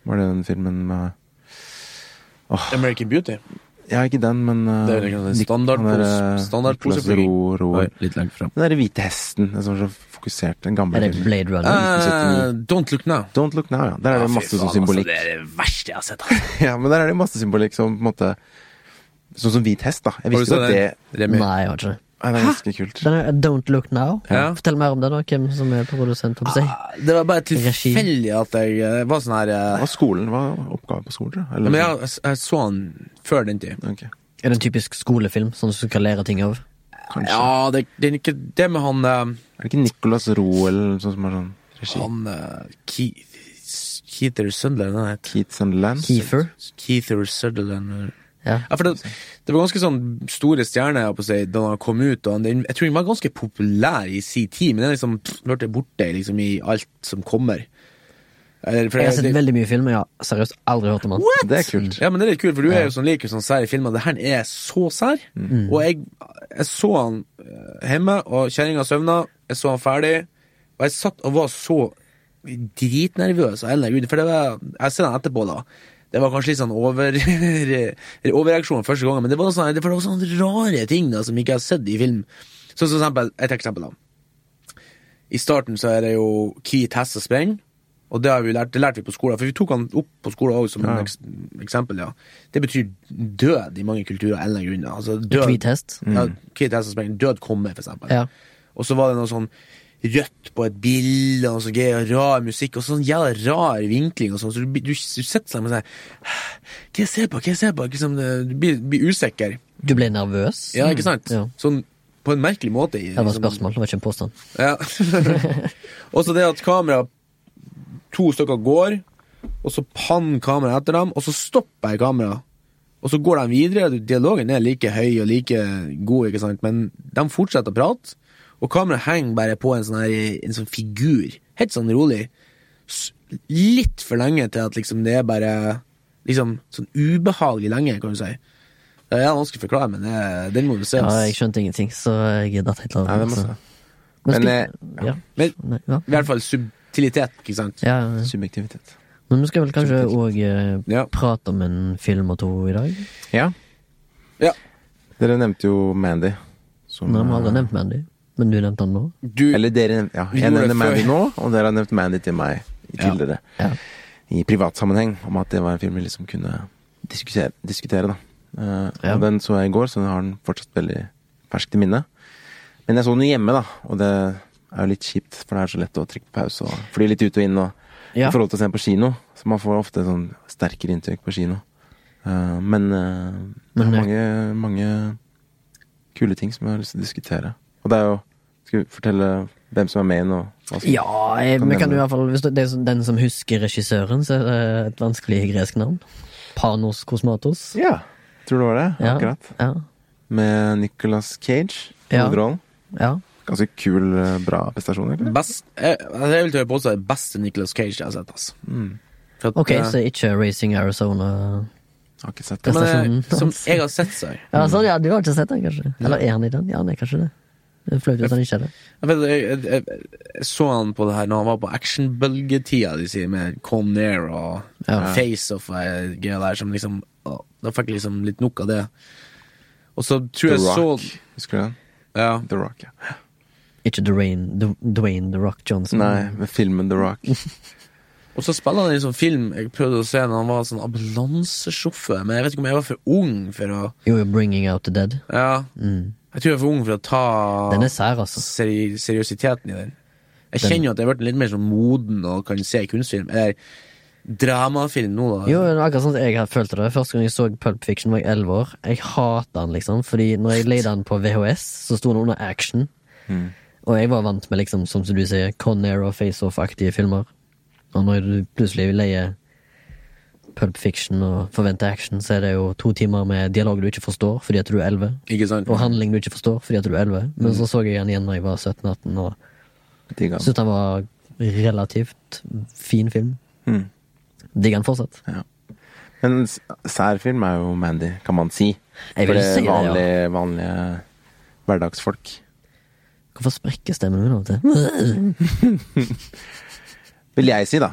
Speaker 1: Var det den filmen med
Speaker 2: American Beauty.
Speaker 1: Ja, ikke den, men eh,
Speaker 2: Det er jo en
Speaker 1: Nick-
Speaker 2: standard
Speaker 1: han der,
Speaker 2: pose-
Speaker 1: eh,
Speaker 2: standard
Speaker 1: Nicolas
Speaker 2: poseflyging.
Speaker 1: Ro- Ro-
Speaker 2: Oi, litt langt fram.
Speaker 1: Den derre hvite hesten den som var så fokusert, den gamle
Speaker 3: Er det
Speaker 1: filmen.
Speaker 3: Blade Runner?
Speaker 2: Eh,
Speaker 1: 1979.
Speaker 2: don't look now.
Speaker 1: Don't look now, ja. Der er det masse sånn symbolikk.
Speaker 2: altså, det er det verste jeg har sett. altså. Har
Speaker 1: Ja, men der er det masse symbolikk som på en måte Sånn som hvit hest, da. Jeg visste jo at det
Speaker 2: Remi?
Speaker 3: Nei, jeg har ikke det.
Speaker 1: Ja, Det er ganske kult.
Speaker 3: Den er Don't Look Now.
Speaker 2: Ja.
Speaker 3: Fortell mer om den, og hvem som er produsent. holdt jeg på å si.
Speaker 2: Ah, Det var bare
Speaker 3: Regi.
Speaker 2: tilfeldig at jeg eh, var sånn her eh,
Speaker 1: Hva er skolen? Hva er oppgaven på skolen? tror jeg? Eller-
Speaker 2: Men jeg, jeg så han før den tid.
Speaker 1: Ok,
Speaker 3: Er det en typisk skolefilm sånn som du kan lære ting av?
Speaker 1: kanskje.
Speaker 2: Ja, det, det er ikke det med han eh,
Speaker 1: Er det ikke Nicolas Roel sånn som er sånn regi?
Speaker 2: Han eh, Keith, Keither Sunderland, han het.
Speaker 1: Keith Sunderland.
Speaker 3: Keefer.
Speaker 2: Keither Sutherland. eller-
Speaker 3: Ja.
Speaker 2: Ja, for det, det var ganske sånn store stjerner jeg holdt på å si, da han kom ut. Og han, den- jeg tror han var ganske populær i sin tid, men den liksom pff, ble borte liksom, i alt som kommer. Eller, for
Speaker 3: Jeg har sett
Speaker 2: det-
Speaker 3: veldig mye film, men jeg har seriøst aldri hørt om han.
Speaker 1: Det er kult.
Speaker 2: Ja, men det er litt kult, for du er jo sånn liker sånn sære filmer. Det her er så sær. Og jeg, jeg så han eh, hjemme, og kjerringa søvna. Jeg så han ferdig, og jeg satt og var så dritnervøs. av en eller annen grunn, For det var, jeg har sett han etterpå, da. Det var kanskje litt sånn over, overreaksjon første gangen, men det var sånn, det var sånne rare ting da, som jeg ikke har sett i film. Så, for eksempel, et eksempel, da. I starten så er det jo Keith Hess og Sprenn, og det, har vi lært, det lærte vi på skolen, for vi tok han opp på skolen også som
Speaker 1: Ja.
Speaker 2: et eks eksempel. ja. Det betyr død i mange kulturer av en eller annen grunn. da. Altså, død,
Speaker 3: Hvit hest.
Speaker 2: Ja, Keith Hess og Sprenn, død kommer, for eksempel.
Speaker 3: Ja.
Speaker 2: Og så var det noe sånn rødt på et bilde, og så gøy, og rar musikk, og sånn jævla rar vinkling, og sånn, så du, blir- du, du sitter sammen og sier sånn Hva jeg ser på, hva jeg ser på? Ikke sant? du blir, blir usikker.
Speaker 3: Du ble nervøs?
Speaker 2: Ja, ikke sant?
Speaker 3: Mm. Ja.
Speaker 2: Sånn på en merkelig måte. i-
Speaker 3: Det var et
Speaker 2: liksom-
Speaker 3: spørsmål, det var ikke en påstand.
Speaker 2: ja. og så det at kamera To stykker går, og så panner kameraet etter dem, og så stopper jeg kameraet. Og så går de videre. og Dialogen er like høy og like god, ikke sant? men de fortsetter å prate. Og kameraet henger bare på en sånn, her, en sånn figur, helt sånn rolig. S- Litt for lenge til at liksom det er bare liksom sånn ubehagelig lenge, kan du si. Det er vanskelig å forklare, men det, den må du se.
Speaker 3: Ja, jeg skjønte ingenting, så jeg datt helt av.
Speaker 1: Nei, det må
Speaker 3: så-
Speaker 1: jeg Men,
Speaker 3: Men, skal... ja.
Speaker 2: Men
Speaker 3: Nei, ja.
Speaker 2: i hvert fall subtilitet, ikke sant?
Speaker 3: ja.
Speaker 1: se. Subjektivitet.
Speaker 3: Men vi skal vel kanskje òg eh,
Speaker 2: Ja.
Speaker 3: prate om en film og to i dag?
Speaker 1: Ja.
Speaker 2: Ja.
Speaker 1: Dere nevnte jo Mandy. Som,
Speaker 3: Nei, vi har
Speaker 1: eh,
Speaker 3: aldri nevnt Mandy, men du nevnte han nå.
Speaker 2: Du,
Speaker 1: Eller dere nevnte Ja,
Speaker 2: Vi
Speaker 1: jeg nevner
Speaker 2: gjorde det
Speaker 1: Mandy
Speaker 2: før.
Speaker 1: nå, og dere har nevnt Mandy til meg i-
Speaker 2: Ja.
Speaker 1: tidligere.
Speaker 3: Ja.
Speaker 1: I privat sammenheng, om at det var en film vi liksom kunne diskutere, diskutere da. Eh,
Speaker 3: Ja.
Speaker 1: Og den så jeg i går, så den har den fortsatt veldig ferskt i minnet. Men jeg så den jo hjemme, da, og det er jo litt kjipt, for det er så lett å trykke på pause og fly litt ut og inn. og
Speaker 3: Ja.
Speaker 1: i forhold til å se den på kino. Så man får ofte sånn sterkere inntrykk på kino. Eh, men eh, det er
Speaker 3: Men, eh,
Speaker 1: mange, mange kule ting som jeg har lyst til å diskutere. Og det er jo Skal vi fortelle hvem som er med i den? og hva som-
Speaker 3: Ja, eh,
Speaker 1: Kan
Speaker 3: vi
Speaker 1: nevne.
Speaker 3: kan jo i hvert fall Hvis det det er sånn- den som husker regissøren, så er det et vanskelig gresk navn. Panos Kosmatos.
Speaker 1: ja. Tror du det var det? Akkurat.
Speaker 3: Ja.
Speaker 1: Med Nicolas Cage i
Speaker 3: Ja.
Speaker 1: hovedrollen.
Speaker 3: ja.
Speaker 1: Ganske kul, eh, bra prestasjon, egentlig.
Speaker 2: best, jeg, altså, jeg vil tørre påstå det er beste Nicolas Cage jeg har sett. Altså.
Speaker 1: Mm.
Speaker 2: For at,
Speaker 3: Ok,
Speaker 2: eh,
Speaker 3: så ikke Racing Arizona.
Speaker 1: Jeg Har ikke sett
Speaker 2: men,
Speaker 1: det.
Speaker 2: eh, Som
Speaker 3: prestasjonen hans.
Speaker 2: jeg har sett, så jeg.
Speaker 3: Ja, så, ja, Du har ikke sett den, kanskje? Eller er han i den? Mm. Ja, han er kanskje det. Det er flaut hvis han ikke er det.
Speaker 2: Jeg, vet, jeg, jeg, jeg, jeg så han på det her når han var på actionbølgetida, de sier, med Con Air og
Speaker 3: Ja.
Speaker 2: FaceOff og eh, greier der, som liksom å, Da fikk jeg liksom litt nok av det. Og så tror
Speaker 1: The
Speaker 2: jeg så
Speaker 1: Rock. Husker du den?
Speaker 2: ja.
Speaker 1: The Rock, ja.
Speaker 3: Ikke Dwayne, Dw- Dwayne The Rock Johnson.
Speaker 1: Nei, med filmen The Rock.
Speaker 2: Og så spiller han i en sånn film jeg prøvde å se når han var sånn ambulansesjåfør, men jeg vet ikke om jeg var for ung for å
Speaker 3: Jo, jo, Bringing Out the Dead.
Speaker 2: Ja.
Speaker 3: Mm.
Speaker 2: Jeg tror jeg er for ung for å ta
Speaker 3: Den er sær, altså.
Speaker 2: sånn seri seriøsiteten i den. Jeg
Speaker 3: Den-
Speaker 2: kjenner jo at jeg har blitt litt mer sånn moden og kan se kunstfilm. Eller dramafilm nå, da.
Speaker 3: Jo, det var akkurat sånn at jeg hadde følte det. Første gang jeg så Pulp Fiction var jeg 11 år. Jeg hatet den, liksom. Fordi når jeg leide den på VHS, så sto den under action. Og jeg var vant med, liksom, som du sier, Con Air og Face Off-aktige filmer. Og når du plutselig leier Pulp Fiction og forventer action, så er det jo to timer med dialog du ikke forstår fordi at du er 11.
Speaker 2: Ikke sant?
Speaker 3: Og handling du ikke forstår fordi at du er 11. Men så så jeg den igjen når jeg var 17-18, og
Speaker 1: Digga den.
Speaker 3: syntes den var relativt fin film.
Speaker 1: Mm.
Speaker 3: Digger den fortsatt.
Speaker 1: Ja. Men s- særfilm er jo Mandy, kan man si.
Speaker 3: Jeg
Speaker 1: For
Speaker 3: vil
Speaker 1: det er
Speaker 3: si det, ja.
Speaker 1: vanlige, vanlige hverdagsfolk.
Speaker 3: Hvorfor sprekker stemmen min av og til?
Speaker 1: Vil jeg si, da.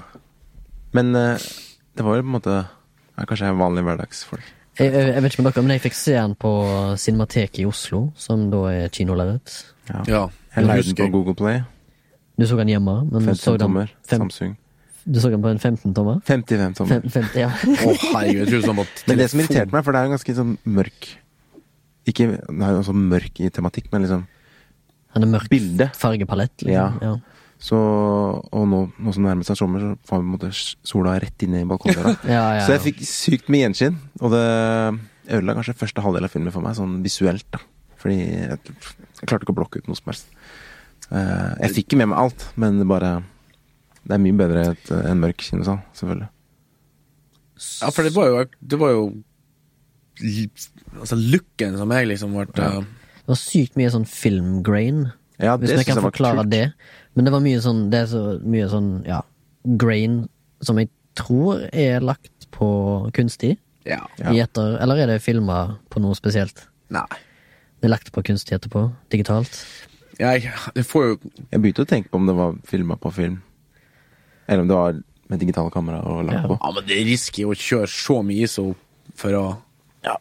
Speaker 1: Men eh, det var jo på en måte ja, Kanskje jeg er vanlige hverdagsfolk.
Speaker 3: Jeg, jeg, jeg vet ikke med dere, men jeg fikk se den på Cinemateket i Oslo, som da er kinolerret.
Speaker 1: Ja.
Speaker 2: Ja.
Speaker 1: Jeg
Speaker 2: Jeg
Speaker 1: leide den
Speaker 2: husker
Speaker 1: på Google Play.
Speaker 3: Du så den hjemme, men du Mm,
Speaker 1: 15
Speaker 3: så den,
Speaker 1: tommer.
Speaker 3: fem,
Speaker 1: Samsung.
Speaker 3: du så den på en 15-tommer?
Speaker 1: 55 tommer.
Speaker 3: Fem, femti, ja.
Speaker 2: Å, herregud, jeg tror sånn på telefon.
Speaker 1: Men det som irriterte meg, for det er jo ganske sånn mørk Ikke det er jo også mørk i tematikk, men liksom
Speaker 3: Han er mørk
Speaker 1: Bilde.
Speaker 3: fargepalett.
Speaker 1: Ja.
Speaker 3: Liksom. Ja.
Speaker 1: Så, og nå, nå som det nærmer seg sommer, så får vi på en måte s- sola rett inn i balkongdøra.
Speaker 3: Ja, ja,
Speaker 1: Så jeg
Speaker 3: ja.
Speaker 1: fikk sykt mye gjenskinn, og det ødela kanskje første halvdel av filmen for meg, sånn visuelt, da. Fordi jeg, jeg klarte ikke å blokke ut noe som helst. Eh, jeg fikk ikke med meg alt, men det bare Det er mye bedre et, en mørk kinosal, selvfølgelig.
Speaker 2: Ja, for det var jo, det var jo li- Altså looken som jeg liksom ble
Speaker 1: Ja.
Speaker 2: eh,
Speaker 3: Det var sykt mye sånn filmgrain.
Speaker 1: Ja,
Speaker 3: Hvis vi kan forklare det. Men det var mye sånn Det er så mye sånn, ja Grain som jeg tror er lagt på kunstig.
Speaker 2: Ja.
Speaker 1: Ja.
Speaker 3: I etter, eller er det filma på noe spesielt?
Speaker 2: Nei.
Speaker 3: Det er lagt på kunstig etterpå. Digitalt.
Speaker 2: Jeg, jeg får jo
Speaker 1: Jeg begynte å tenke på om det var filma på film. Eller om det var med digitale kamera og lagt
Speaker 3: Ja.
Speaker 1: på.
Speaker 2: Ja, men det er risky å kjøre så mye ISO for å Ja.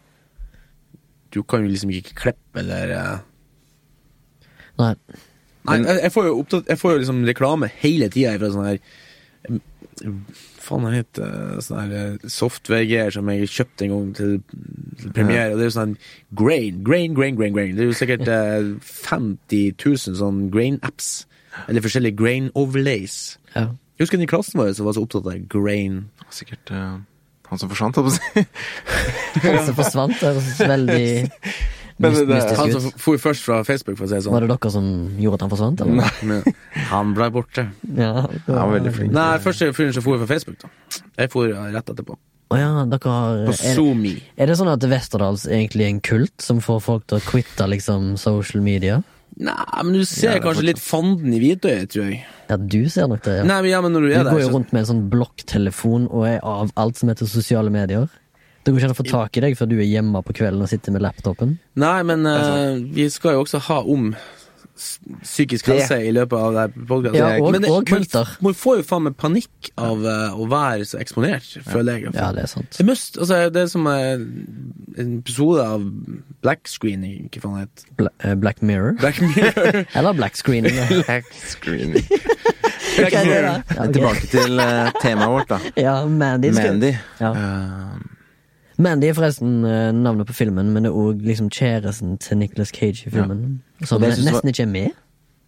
Speaker 2: Du kan jo liksom ikke klippe eller eh,
Speaker 3: Nei.
Speaker 2: Nei, jeg, jeg, får jo opptatt, jeg får jo liksom reklame hele tida fra sånne her mm, Faen, hva heter det? Sånne her eh, software-greier som jeg kjøpte en gang til, til premiere. Og det er jo sånn grain, grain, grain, grain. grain. Det er jo sikkert eh, 50 000 sånn grain-apps. Eller forskjellige grain-overlays.
Speaker 3: Ja.
Speaker 2: Jeg husker den i klassen vår som var så opptatt av grain.
Speaker 1: Sikkert eh, han som forsvant, holdt jeg på å si.
Speaker 3: Han som forsvant, det høres veldig
Speaker 1: Men det-
Speaker 3: myst-
Speaker 2: Han
Speaker 3: mystisk
Speaker 2: som
Speaker 3: ut.
Speaker 2: for først fra Facebook, for å si det sånn.
Speaker 3: Var det dere som gjorde at han forsvant? Eller?
Speaker 2: Han ble borte.
Speaker 3: Ja,
Speaker 1: Han var veldig flink.
Speaker 2: Nei, første fyren som for fra Facebook, da. Jeg for rett etterpå.
Speaker 3: Å ja, dere har
Speaker 2: På
Speaker 3: er,
Speaker 2: SoMe.
Speaker 3: er det sånn at Westerdals egentlig er en kult som får folk til å quitte liksom, social media?
Speaker 2: Nei, men du ser
Speaker 1: Ja, det er
Speaker 2: kanskje
Speaker 1: fortsatt.
Speaker 2: litt fanden i hvitøyet, tror jeg.
Speaker 3: Ja, du ser nok det. Ja.
Speaker 2: Nei, men, ja, men når du
Speaker 3: Du
Speaker 2: er
Speaker 3: går
Speaker 2: der,
Speaker 3: jo
Speaker 2: så
Speaker 3: rundt med en sånn blokktelefon og er av alt som heter sosiale medier. Det går ikke an å få tak i deg før du er hjemme på kvelden og sitter med laptopen.
Speaker 2: Nei, men eh, vi skal jo også ha om s- psykisk helse i løpet av det her podkastet.
Speaker 3: Ja, og- og kulter.
Speaker 2: Man får jo faen meg panikk av eh, å være så eksponert, føler jeg.
Speaker 3: Ja, det er sant.
Speaker 2: Det, must, altså, det er som eh, en episode av Black Screening, hva faen det heter.
Speaker 3: Bla eh, Black Mirror.
Speaker 2: Black Mirror.
Speaker 3: Eller black screening. ja.
Speaker 1: Black screening.
Speaker 2: Black
Speaker 3: Hva er
Speaker 2: Mirror.
Speaker 3: det da?
Speaker 1: Men
Speaker 3: Ja, ok.
Speaker 1: Tilbake til eh, temaet vårt, da.
Speaker 3: Ja, Mandy. skal-
Speaker 1: Mandy.
Speaker 3: Ja.
Speaker 1: Eh,
Speaker 3: Mandy er forresten eh, navnet på filmen, men det er òg liksom kjæresten til Nicolas Cage i filmen. Som
Speaker 1: Og det jeg synes
Speaker 3: nesten
Speaker 1: var-
Speaker 3: ikke er med.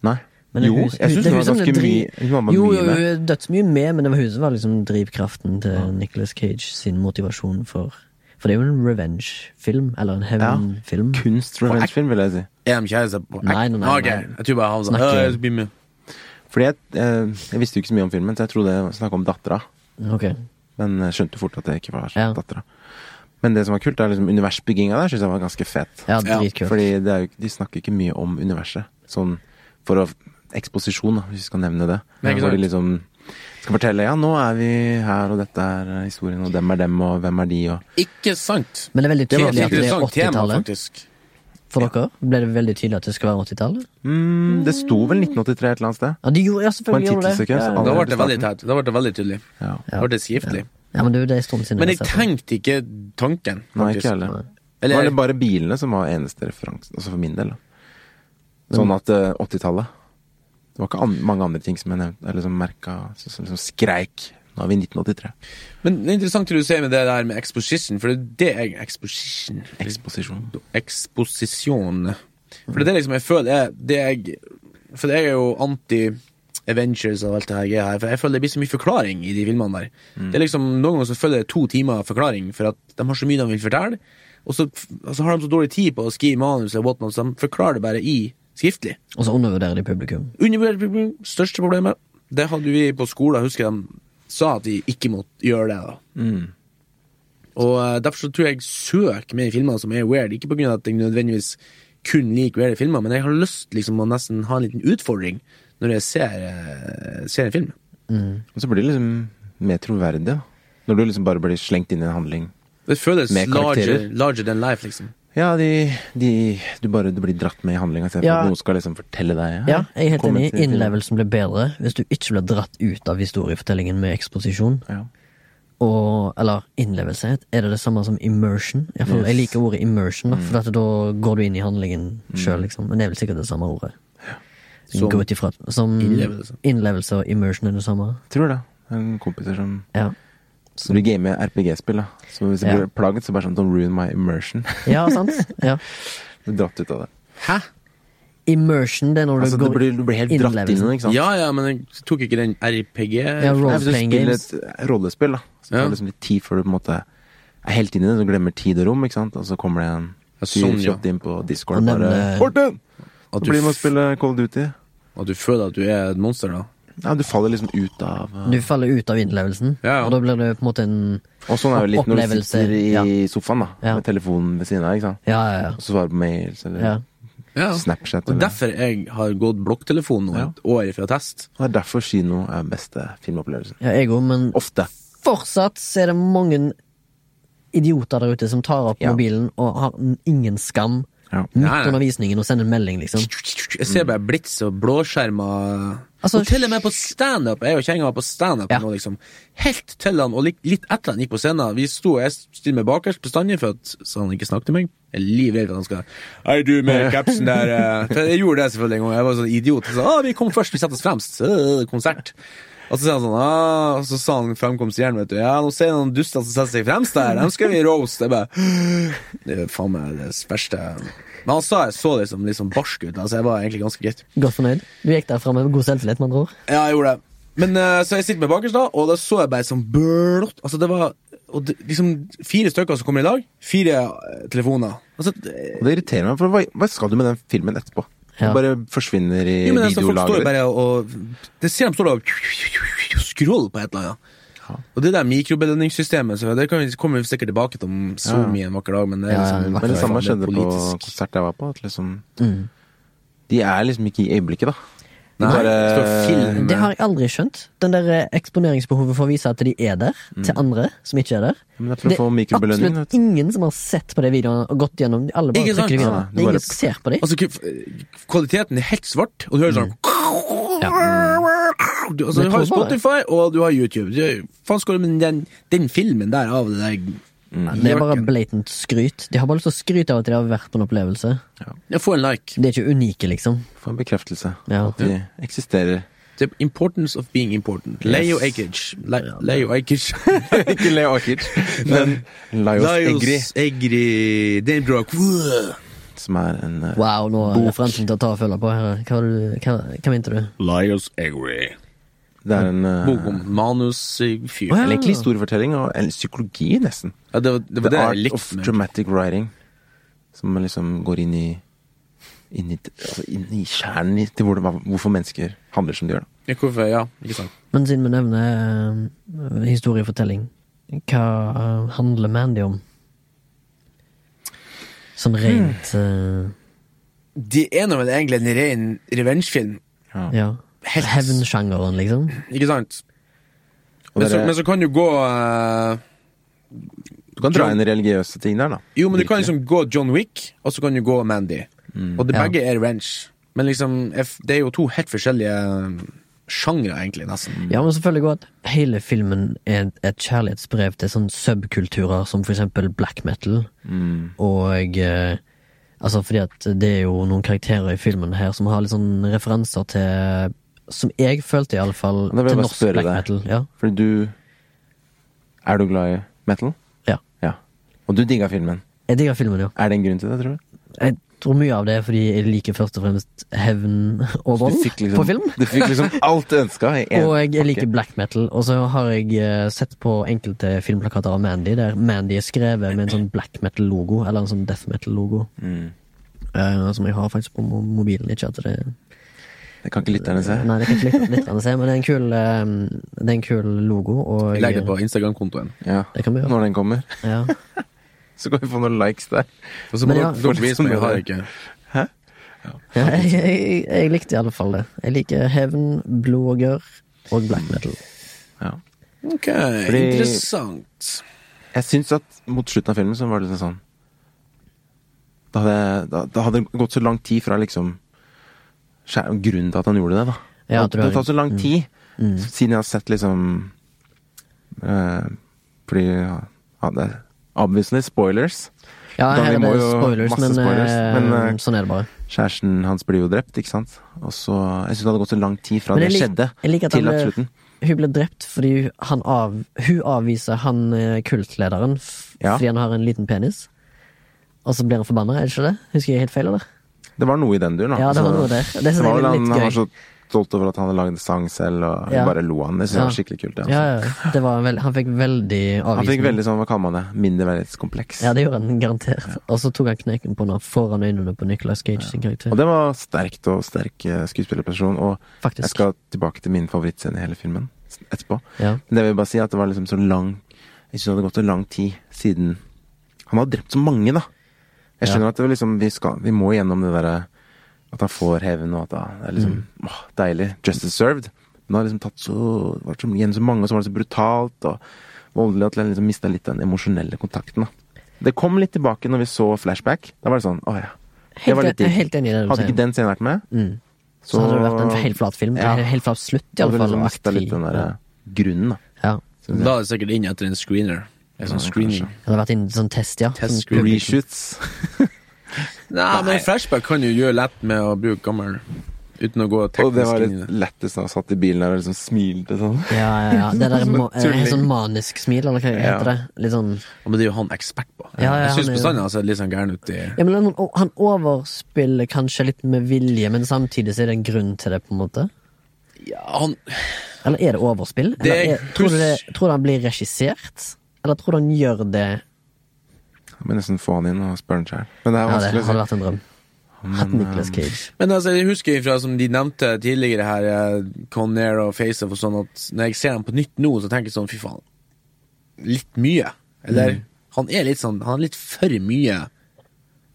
Speaker 1: nei.
Speaker 3: Men det er
Speaker 1: jo,
Speaker 3: hun-
Speaker 1: jeg syns
Speaker 3: det er
Speaker 1: hun
Speaker 3: hun
Speaker 1: var
Speaker 3: som
Speaker 1: ganske
Speaker 3: dri-
Speaker 1: mye Hun var
Speaker 3: Jo,
Speaker 1: mye
Speaker 3: jo,
Speaker 1: med.
Speaker 3: hun er dødsmye med, men det var hun som var liksom drivkraften til Nicolas Cage sin motivasjon for For det er jo en revenge-film, eller en hevnfilm.
Speaker 1: Kunst-revenge-film, vil jeg si.
Speaker 2: Er de kjærester på
Speaker 3: Nei, nei, nei,
Speaker 2: Ok,
Speaker 3: nei.
Speaker 2: Jeg tror bare han sånn, sa
Speaker 3: Snakker-
Speaker 2: «Ja, jeg skal bli med».
Speaker 1: Fordi jeg, eh, jeg visste jo ikke så mye om filmen, så jeg trodde jeg snakka om dattera.
Speaker 3: Ok.
Speaker 1: Men jeg skjønte fort at det ikke var
Speaker 3: Ja.
Speaker 1: dattera. Men det som var kult, er liksom universbygginga der, syns jeg var ganske fet.
Speaker 3: Ja,
Speaker 2: Ja,
Speaker 3: dritkult.
Speaker 1: Fordi det er jo, de snakker ikke mye om universet. Sånn for å Eksposisjon, da, hvis vi skal nevne det.
Speaker 2: Nei, ikke
Speaker 1: Hvor de
Speaker 2: sant.
Speaker 1: liksom skal fortelle ja, nå er vi her, og dette er historien, og dem er dem, og hvem er de, og
Speaker 2: Ikke sant.
Speaker 3: Men det er veldig
Speaker 2: Det var et
Speaker 3: tydelig at det er
Speaker 2: interessant tema,
Speaker 3: 80-tallet.
Speaker 2: faktisk.
Speaker 3: For dere ble det veldig tydelig at det skulle være 80-tallet?
Speaker 1: mm, Det sto vel 1983 et eller annet sted?
Speaker 3: Ja, de gjorde,
Speaker 1: På en
Speaker 3: ja,
Speaker 1: altså.
Speaker 3: selvfølgelig gjorde det.
Speaker 1: tittelsekvens.
Speaker 2: Da ble
Speaker 1: allerede
Speaker 2: det
Speaker 1: i
Speaker 2: veldig
Speaker 1: starten.
Speaker 2: tett. Da ble det veldig tydelig.
Speaker 1: Ja.
Speaker 2: Da ble det skriftlig.
Speaker 3: Ja, men det er jo det en stund siden.
Speaker 2: Men
Speaker 3: jeg
Speaker 2: jeg
Speaker 3: har sett den.
Speaker 2: tenkte ikke tanken,
Speaker 1: Nei, ikke
Speaker 2: faktisk.
Speaker 1: heller.
Speaker 2: Eller-
Speaker 1: Var det bare bilene som var eneste referansen? Altså for min del, da. Sånn at eh, 80-tallet Det var ikke an mange andre ting som jeg nevnte, eller som merka Som som- som skreik. Nå er vi i 1983.
Speaker 2: Men det er interessant det du sier med det der med exposition, for det er det jeg Exposition.
Speaker 1: Eksposisjon.
Speaker 2: Eksposisjon. For det er det liksom jeg føler er det jeg For jeg er jo anti Avengers og alt det her greia her, for jeg føler det blir så mye forklaring i de filmene der.
Speaker 1: Mm.
Speaker 2: Det er liksom Noen ganger så følger det to timer forklaring, for at de har så mye de vil fortelle, og så, og så har de så dårlig tid på å skrive manus eller whatnot, så de forklarer det bare i skriftlig.
Speaker 3: Og så undervurderer de publikum.
Speaker 2: Undervurdert publikum, største problemet. Det hadde vi på skolen, husker jeg de sa at de ikke måtte gjøre det. da.
Speaker 1: Mm.
Speaker 2: Og eh, Derfor så tror jeg jeg søker mer filmer som er weird, ikke pga. at jeg nødvendigvis kun liker weirde filmer, men jeg har lyst liksom å nesten ha en liten utfordring når jeg ser, eh, ser en film.
Speaker 1: Og så blir det liksom mer troverdig, da. Når du liksom bare blir slengt inn i en handling.
Speaker 2: Det føles
Speaker 1: Med
Speaker 2: larger,
Speaker 1: karakterer.
Speaker 2: larger than life, liksom.
Speaker 1: Ja, de, de Du bare du blir dratt med i handlinga istedenfor
Speaker 3: Ja.
Speaker 1: at noen skal liksom fortelle deg
Speaker 3: Ja, jeg er helt
Speaker 1: kom
Speaker 3: enig.
Speaker 1: til filmen.
Speaker 3: Innlevelsen blir bedre hvis du ikke blir dratt ut av historiefortellingen med eksposisjon.
Speaker 1: Ja.
Speaker 3: Og, eller innlevelse, er det det samme som immersion? I hvert fall, Jeg liker ordet immersion, da,
Speaker 1: Mm.
Speaker 3: for at da går du inn i handlingen sjøl, liksom. Men det er vel sikkert det samme ordet.
Speaker 2: Som
Speaker 3: Gå ut ifra Som
Speaker 2: innlevelse.
Speaker 3: innlevelse og immersion er det samme.
Speaker 1: Tror det. Det er en kompiser som
Speaker 3: Ja,
Speaker 1: Som du gamer RPG-spill, da. Så hvis du
Speaker 3: Ja.
Speaker 1: blir plaget, så bare sånn Don't ruin my immersion.
Speaker 3: ja sant? Ja.
Speaker 1: Du blir dratt ut av det.
Speaker 2: Hæ?
Speaker 3: Immersion, det er når du
Speaker 1: Altså, du
Speaker 3: går
Speaker 1: blir, du blir helt dratt inn i
Speaker 3: innlevelsen.
Speaker 1: det, ikke sant?
Speaker 2: Ja ja, men jeg tok ikke den RPG
Speaker 3: Ja,
Speaker 1: Nei, Hvis du
Speaker 3: Role-playing
Speaker 1: spiller
Speaker 3: games.
Speaker 1: et rollespill, da, så
Speaker 2: Ja.
Speaker 1: tar det liksom litt tid før du på en måte er helt inni det, så glemmer tid og rom, ikke sant? Og så kommer det en
Speaker 2: Ja,
Speaker 1: fyr
Speaker 2: sånn, ja.
Speaker 1: kjapt inn på Discord
Speaker 3: Og
Speaker 1: og bare
Speaker 3: nevne-
Speaker 1: Morten!
Speaker 2: At
Speaker 1: Så
Speaker 2: du,
Speaker 1: blir med å
Speaker 2: f-
Speaker 1: spille Cold Duty.
Speaker 2: at du føler at du er et monster, da.
Speaker 1: Ja, du faller liksom ut av eh,
Speaker 3: Du faller ut av innlevelsen,
Speaker 2: Ja, ja.
Speaker 3: og da blir det på en måte en
Speaker 1: Og sånn er det litt når du
Speaker 3: Opplevelse,
Speaker 1: sitter i
Speaker 3: ja.
Speaker 1: sofaen da
Speaker 3: Ja.
Speaker 1: med telefonen ved siden av. ikke sant?
Speaker 3: Ja, ja, ja.
Speaker 1: Og så svarer på mails eller
Speaker 3: ja.
Speaker 2: Ja.
Speaker 1: Snapchat.
Speaker 2: Og
Speaker 1: Eller.
Speaker 2: derfor jeg har gått blokktelefon nå et år ifra test.
Speaker 1: Og det er derfor kino er beste filmopplevelsen.
Speaker 3: ja jeg òg, men
Speaker 1: Ofte.
Speaker 3: fortsatt så er det mange idioter der ute som tar opp
Speaker 1: Ja.
Speaker 3: mobilen og har n- ingen skam
Speaker 1: Ja.
Speaker 3: midt
Speaker 2: Nei, nei.
Speaker 3: under visningen og sender en melding, liksom.
Speaker 2: Jeg ser bare blits og blåskjermer.
Speaker 3: Altså,
Speaker 2: og til og med på standup. Jeg og kjerringa var på standup
Speaker 3: Ja.
Speaker 2: nå, liksom. Helt til han, og litt, litt etter han gikk på scenen. Vi sto, jeg stiller meg bakerst bestandig for at så han ikke snakket til meg. Jeg er livredd for at han skal Hei, du med capsen der eh». For Jeg gjorde det selvfølgelig en gang. Jeg var sånn idiot. Jeg sa, ah, vi kom først, vi setter oss fremst. Øh, Konsert. Og så, sa han sånn, ah, og så sa han fremkomstjern, vet du. Ja, nå ser jeg noen duster som setter seg fremst der. Dem skal vi roast. Jeg bare Det er faen meg det verste Men han sa jeg så liksom, liksom barsk ut. Altså, jeg var egentlig ganske greit.
Speaker 3: Godt fornøyd. Du gikk derfra med god selvtillit, med andre ord.
Speaker 2: Ja, jeg gjorde det. Men eh, så jeg sitter med bakerst, da, og da så jeg bare sånn blått Altså, det var og det, liksom fire stykker som kommer i lag. Fire eh, telefoner. Altså, det-
Speaker 1: Og det irriterer meg, for hva, hva skal du med den filmen etterpå? Du
Speaker 3: Ja.
Speaker 1: bare forsvinner i
Speaker 2: jo, men altså, folk står jo
Speaker 1: videolageret.
Speaker 2: bare og Det ser de står der og scroller på et eller annet.
Speaker 1: Ja.
Speaker 2: Og det der mikrobelønningssystemet, så det kan vi, kommer vi sikkert tilbake til om Zoom i en vakker dag, men det er
Speaker 3: Ja,
Speaker 2: liksom
Speaker 3: ja,
Speaker 1: Men det
Speaker 2: faen,
Speaker 1: samme
Speaker 2: er
Speaker 1: skjedde på
Speaker 2: politisk.
Speaker 1: konsert jeg var på. At liksom,
Speaker 3: Mm.
Speaker 1: De er liksom ikke i øyeblikket, da. De
Speaker 2: Nei,
Speaker 1: bare
Speaker 2: det står film.
Speaker 3: Det har jeg aldri skjønt. Den der eh, eksponeringsbehovet for å vise at de er der, til andre som ikke er der.
Speaker 1: Mm. Men det er for å få mikrobelønning.
Speaker 3: absolutt
Speaker 1: vet du.
Speaker 3: ingen som har sett på de videoene og gått gjennom. Alle bare
Speaker 2: Ikke sant?
Speaker 3: trykker de videre.
Speaker 1: Ja, du
Speaker 3: Det er
Speaker 1: bare-
Speaker 3: ingen som ser på de.
Speaker 2: Altså, k- kvaliteten er helt svart, og du
Speaker 1: Mm.
Speaker 2: hører sånn du, altså,
Speaker 3: Det
Speaker 2: du har
Speaker 3: tror jeg
Speaker 2: Spotify, og du har YouTube. Du, faen skal du med den, den filmen der av det der
Speaker 3: Det er bare blatant skryt. De har bare lyst til å skryte av at de har vært på en opplevelse.
Speaker 2: Jeg får en like.
Speaker 3: De er ikke unike, liksom.
Speaker 1: Få en bekreftelse.
Speaker 3: Ja.
Speaker 1: At de eksisterer.
Speaker 2: The importance of being important. Leo Ajkic. Le- Leo Ajkic.
Speaker 1: ikke Leo Akic, men Laios Egri,
Speaker 2: Laios Egri. Dave Brock.
Speaker 1: som er en eh,
Speaker 3: Wow, nå er
Speaker 1: Bok.
Speaker 3: referansen til å ta og følge på her. Hva, var det du- hva, hva mente du?
Speaker 2: Laios Egri.
Speaker 1: Det er en eh,
Speaker 2: Bok om manusfyr.
Speaker 3: Å, ja.
Speaker 1: eller egentlig historiefortelling og eller psykologi, nesten.
Speaker 2: eh, Ja, det var det, var det
Speaker 1: The
Speaker 2: jeg
Speaker 1: Art of
Speaker 2: likte. med-
Speaker 1: Dramatic Writing. Som liksom går inn i Inn i, altså inn i kjernen i- til hvordan, hva- hvorfor mennesker handler som de gjør. Da.
Speaker 2: Ja, Hvorfor? Ja, ikke sant.
Speaker 3: Men siden vi nevner eh, historiefortelling, hva eh, handler Mandy om? Sånn rent Hmm.
Speaker 2: Det er nå vel egentlig en ren revenge-film,
Speaker 3: eh, Ja.
Speaker 2: Helt-
Speaker 3: Hevnsjangeren, liksom.
Speaker 2: ikke sant?
Speaker 1: Og
Speaker 2: Men så,
Speaker 1: dere-
Speaker 2: men så kan du gå eh,
Speaker 1: Du kan dra inn religiøse ting der, da.
Speaker 2: Jo, men du kan
Speaker 1: Virkelig.
Speaker 2: liksom gå John Wick, og så kan du gå Mandy. Og det
Speaker 3: Ja.
Speaker 2: begge er revenge. Men liksom, jeg f- det er jo to helt forskjellige um, sjangre, egentlig, nesten.
Speaker 3: Ja, men selvfølgelig godt. Hele filmen er et kjærlighetsbrev til sånne subkulturer som for eksempel black metal.
Speaker 2: liksom-
Speaker 1: Mm.
Speaker 3: Og eh, altså fordi at det er jo noen karakterer i filmen her som har litt sånn referanser til Som jeg følte, iallfall,
Speaker 1: Da vil jeg
Speaker 3: til
Speaker 1: bare
Speaker 3: norsk
Speaker 1: spørre
Speaker 3: black
Speaker 1: deg.
Speaker 3: metal. Ja.
Speaker 1: Fordi du Er du glad i metal?
Speaker 3: ja.
Speaker 1: Ja. Og du digga filmen.
Speaker 3: Jeg digger filmen, jo.
Speaker 1: Er det en grunn til det, tror du?
Speaker 3: Jeg tror mye av det er fordi jeg liker først og fremst hevn og
Speaker 1: Du
Speaker 3: vold
Speaker 1: fikk liksom,
Speaker 3: på film.
Speaker 1: Du fikk liksom alt du ønska.
Speaker 3: Og jeg, jeg liker black metal, og så har jeg eh, sett på enkelte filmplakater av Mandy, der Mandy er skrevet med en sånn black metal-logo, eller en sånn death metal-logo.
Speaker 1: Mm.
Speaker 3: Eh, som jeg har faktisk på mo- mobilen. Ikke at det
Speaker 1: Det kan ikke lytterne se.
Speaker 3: Nei, det kan ikke lyt- lytterne se, men det er en kul, eh, det er en kul logo. Og
Speaker 2: Legg det på Instagram-kontoen.
Speaker 1: Ja.
Speaker 3: Det kan vi gjøre.
Speaker 1: Når den kommer.
Speaker 3: Ja.
Speaker 1: Så kan vi få noen likes der.
Speaker 2: Og så må
Speaker 3: Men
Speaker 2: dere
Speaker 3: ja.
Speaker 2: dere vise meg, jeg har ikke
Speaker 3: Ja, jeg, jeg, jeg likte i alle fall det. Jeg liker hevn, blod og gørr og black metal.
Speaker 1: Ja.
Speaker 2: Ok,
Speaker 1: Fordi-
Speaker 2: interessant.
Speaker 1: Jeg syns at mot slutten av filmen så var det liksom sånn Da hadde, da, da hadde det gått så lang tid fra liksom skjær- Grunnen til at han gjorde det, da.
Speaker 3: Ja, at
Speaker 1: det
Speaker 3: du har-
Speaker 1: har tatt så lang tid
Speaker 3: Mm.
Speaker 1: siden jeg har sett liksom eh, Fordi ja, ja, det er obviously spoilers.
Speaker 3: Ja,
Speaker 1: Da,
Speaker 3: her
Speaker 1: vi
Speaker 3: er
Speaker 1: må
Speaker 3: det
Speaker 1: jo-
Speaker 3: spoilers,
Speaker 1: masse
Speaker 3: men,
Speaker 1: spoilers,
Speaker 3: eh,
Speaker 1: men, eh,
Speaker 3: sånn er det bare.
Speaker 1: Kjæresten hans blir jo drept, ikke sant. Og så Jeg syns det hadde gått så lang tid fra
Speaker 3: Men
Speaker 1: det
Speaker 3: jeg lik-
Speaker 1: skjedde,
Speaker 3: jeg liker at han
Speaker 1: til at
Speaker 3: ble-
Speaker 1: slutten.
Speaker 3: Hun ble drept fordi han av, hun avviser han eh, kultlederen f
Speaker 1: Ja.
Speaker 3: fordi han har en liten penis. Og så blir han forbanna, er det ikke det? Husker jeg helt feil, eller?
Speaker 1: Det var noe i den duren, da.
Speaker 3: Ja, det var
Speaker 1: Så-
Speaker 3: noe der. Det synes jeg
Speaker 1: var
Speaker 3: er sånn
Speaker 1: vel
Speaker 3: litt
Speaker 1: han, han
Speaker 3: gøy.
Speaker 1: var så stolt over at han hadde lagd en sang selv, og vi
Speaker 3: Ja.
Speaker 1: bare lo han. Det synes jeg var
Speaker 3: Ja.
Speaker 1: skikkelig kult. det,
Speaker 3: Ja,
Speaker 1: altså.
Speaker 3: ja. Det var vel- han fikk veldig
Speaker 1: Han fikk
Speaker 3: avvisning.
Speaker 1: veldig sånn, hva kaller man det, mindreverdighetskompleks.
Speaker 3: Ja, det gjorde han garantert. Og så tok han kneken på henne foran øynene på Nicolas Cage sin karakter.
Speaker 1: Og det var sterkt og sterk eh, skuespillerprestasjon, og
Speaker 3: Faktisk.
Speaker 1: jeg skal tilbake til min favorittscene i hele filmen s- etterpå.
Speaker 3: Ja.
Speaker 1: Men det vil jeg bare si at det var liksom så lang Jeg synes det hadde gått så lang tid siden Han har drept så mange, da. Jeg
Speaker 3: Ja.
Speaker 1: skjønner at det var liksom vi, skal, vi må gjennom det derre At han får hevn, og at han- det er liksom
Speaker 3: Mm.
Speaker 1: åh, deilig. Justice served. Men det har liksom tatt så det har vært så, gjennom så mange, og så var det så brutalt og voldelig at jeg liksom mista litt av den emosjonelle kontakten, da. Det kom litt tilbake når vi så flashback. Da var det sånn, å ja. Det var litt
Speaker 3: Helt, jeg er
Speaker 1: digg.
Speaker 3: helt enig i det du
Speaker 1: Hadde
Speaker 3: sier.
Speaker 1: ikke den scenen vært med,
Speaker 3: Mm. Så, hadde det vært en helt flat film.
Speaker 1: Ja.
Speaker 3: En helt flat slutt,
Speaker 1: hadde vi
Speaker 3: iallfall.
Speaker 1: liksom mista litt den der eh, grunnen, da.
Speaker 3: Ja.
Speaker 1: jeg.
Speaker 2: Da er det sikkert inn etter en screener. En sånn
Speaker 1: Ja,
Speaker 2: screening.
Speaker 1: kanskje.
Speaker 3: Det hadde vært en sånn test, ja.
Speaker 2: Test
Speaker 3: sånn,
Speaker 2: screen.
Speaker 1: Reshoots.
Speaker 2: Nei, men flashback kan jo gjøre lett med å bruke gammel uten å gå
Speaker 1: Og det var
Speaker 2: teknisk inn i
Speaker 1: litt
Speaker 2: det.
Speaker 1: lettest da han satt i bilen der og liksom smilte sånn.
Speaker 3: ja, ja, ja. Det der
Speaker 1: Som en
Speaker 3: må, eh,
Speaker 1: tulling.
Speaker 3: sånn manisk smil, eller hva
Speaker 1: Ja.
Speaker 3: heter det? Litt sånn
Speaker 2: Ja, Men det er jo han ekspert på.
Speaker 3: Ja, ja,
Speaker 2: jeg
Speaker 3: han
Speaker 2: syns
Speaker 3: er jo-
Speaker 2: bestandig han ser litt sånn gæren ut i
Speaker 3: ja, men han, han overspiller kanskje litt med vilje, men samtidig så er det en grunn til det, på en måte?
Speaker 2: ja, han,
Speaker 3: Eller er det overspill?
Speaker 2: Det
Speaker 3: Eller er,
Speaker 2: er-
Speaker 3: tror, du det, tror du han blir regissert? Eller tror du han gjør det
Speaker 1: Jeg må nesten få han inn og spørre han sjøl. Men det er
Speaker 3: Ja, det
Speaker 1: vanskelig. å
Speaker 3: hadde
Speaker 1: si.
Speaker 3: vært en drøm. Hatt Nicolas Cage.
Speaker 2: Men altså, jeg husker fra som de nevnte tidligere her, eh, Conair og FaceOff og sånn, at når jeg ser ham på nytt nå, så tenker jeg sånn, fy faen, litt mye. Eller,
Speaker 3: Mm.
Speaker 2: han er litt sånn, han er litt for mye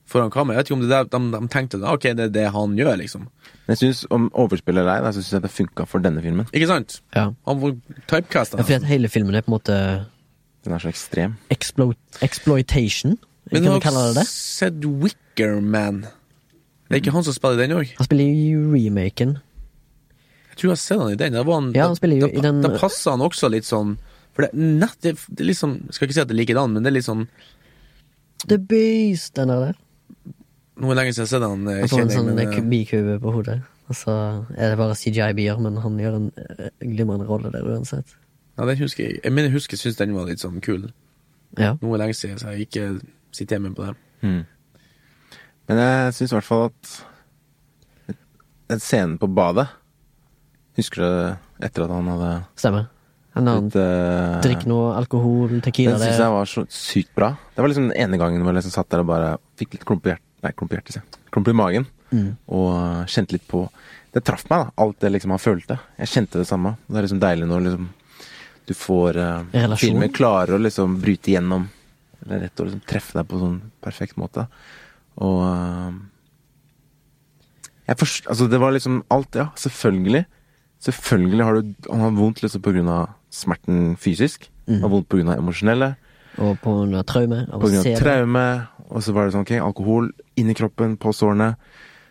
Speaker 2: foran kamera. Jeg vet ikke om det der, de, de tenkte, ah, ok, det er det han gjør, liksom.
Speaker 1: Men jeg synes, om overspill eller ei, da, så syns jeg det funka for denne filmen.
Speaker 2: Ikke sant?
Speaker 3: Ja.
Speaker 2: Han var typecastet.
Speaker 3: Ja, fordi at hele filmen er på en måte
Speaker 1: Den er så ekstrem.
Speaker 3: explo exploitation.
Speaker 2: Men
Speaker 3: kan
Speaker 2: har
Speaker 3: vi kalle det det?
Speaker 2: sett Wicker Man. Det er ikke han som spiller i den òg.
Speaker 3: Han spiller jo i remaken.
Speaker 2: Jeg tror jeg har sett han i den. Da, var han,
Speaker 3: Ja, han spiller jo
Speaker 2: da,
Speaker 3: i den-
Speaker 2: da passer han også litt sånn For det, nett, det, det er liksom Skal ikke si at det er likedan, men det er litt sånn
Speaker 3: The Beast, den der. der.
Speaker 2: Nå er det lenge siden jeg har sett han. eh,
Speaker 3: Han får en
Speaker 2: kjenner jeg,
Speaker 3: sånn
Speaker 2: men,
Speaker 3: ku- bikube på hodet. Og så er det bare CGI-bier, men han gjør en eh, glimrende rolle der uansett.
Speaker 2: eh, ja, den husker jeg. Jeg mener, jeg husker jeg syns den var litt sånn kul.
Speaker 3: Ja.
Speaker 2: Nå er det lenge siden, så jeg ikke sitter hjemme på den.
Speaker 1: Men jeg syns i hvert fall at den scenen på badet Husker du etter at han hadde
Speaker 3: Stemmer. Han har
Speaker 1: litt eh,
Speaker 3: drikk noe alkohol, tequila
Speaker 1: Den syns jeg var så sykt bra. Det var liksom den ene gangen hvor jeg liksom satt der og bare fikk litt klump i hjertet Nei, klump i hjertet, sier jeg. Klump i magen. Og øh, kjente litt på Det traff meg, da. Alt det liksom han følte. Jeg kjente det samme. Det er liksom deilig når liksom du får uh,
Speaker 3: Relasjon?
Speaker 1: Filmer klarer å liksom bryte gjennom. Eller rett og liksom treffe deg på sånn perfekt måte. Og øh, jeg forst, altså det var liksom alt, ja. Selvfølgelig. Selvfølgelig har du Han har vondt liksom på grunn av smerten fysisk. Han har vondt på grunn av emosjonelle.
Speaker 3: og på grunn av traume. av
Speaker 1: På
Speaker 3: å
Speaker 1: grunn av
Speaker 3: se det.
Speaker 1: traume. Og så var det sånn, ok, alkohol inni kroppen, på sårene.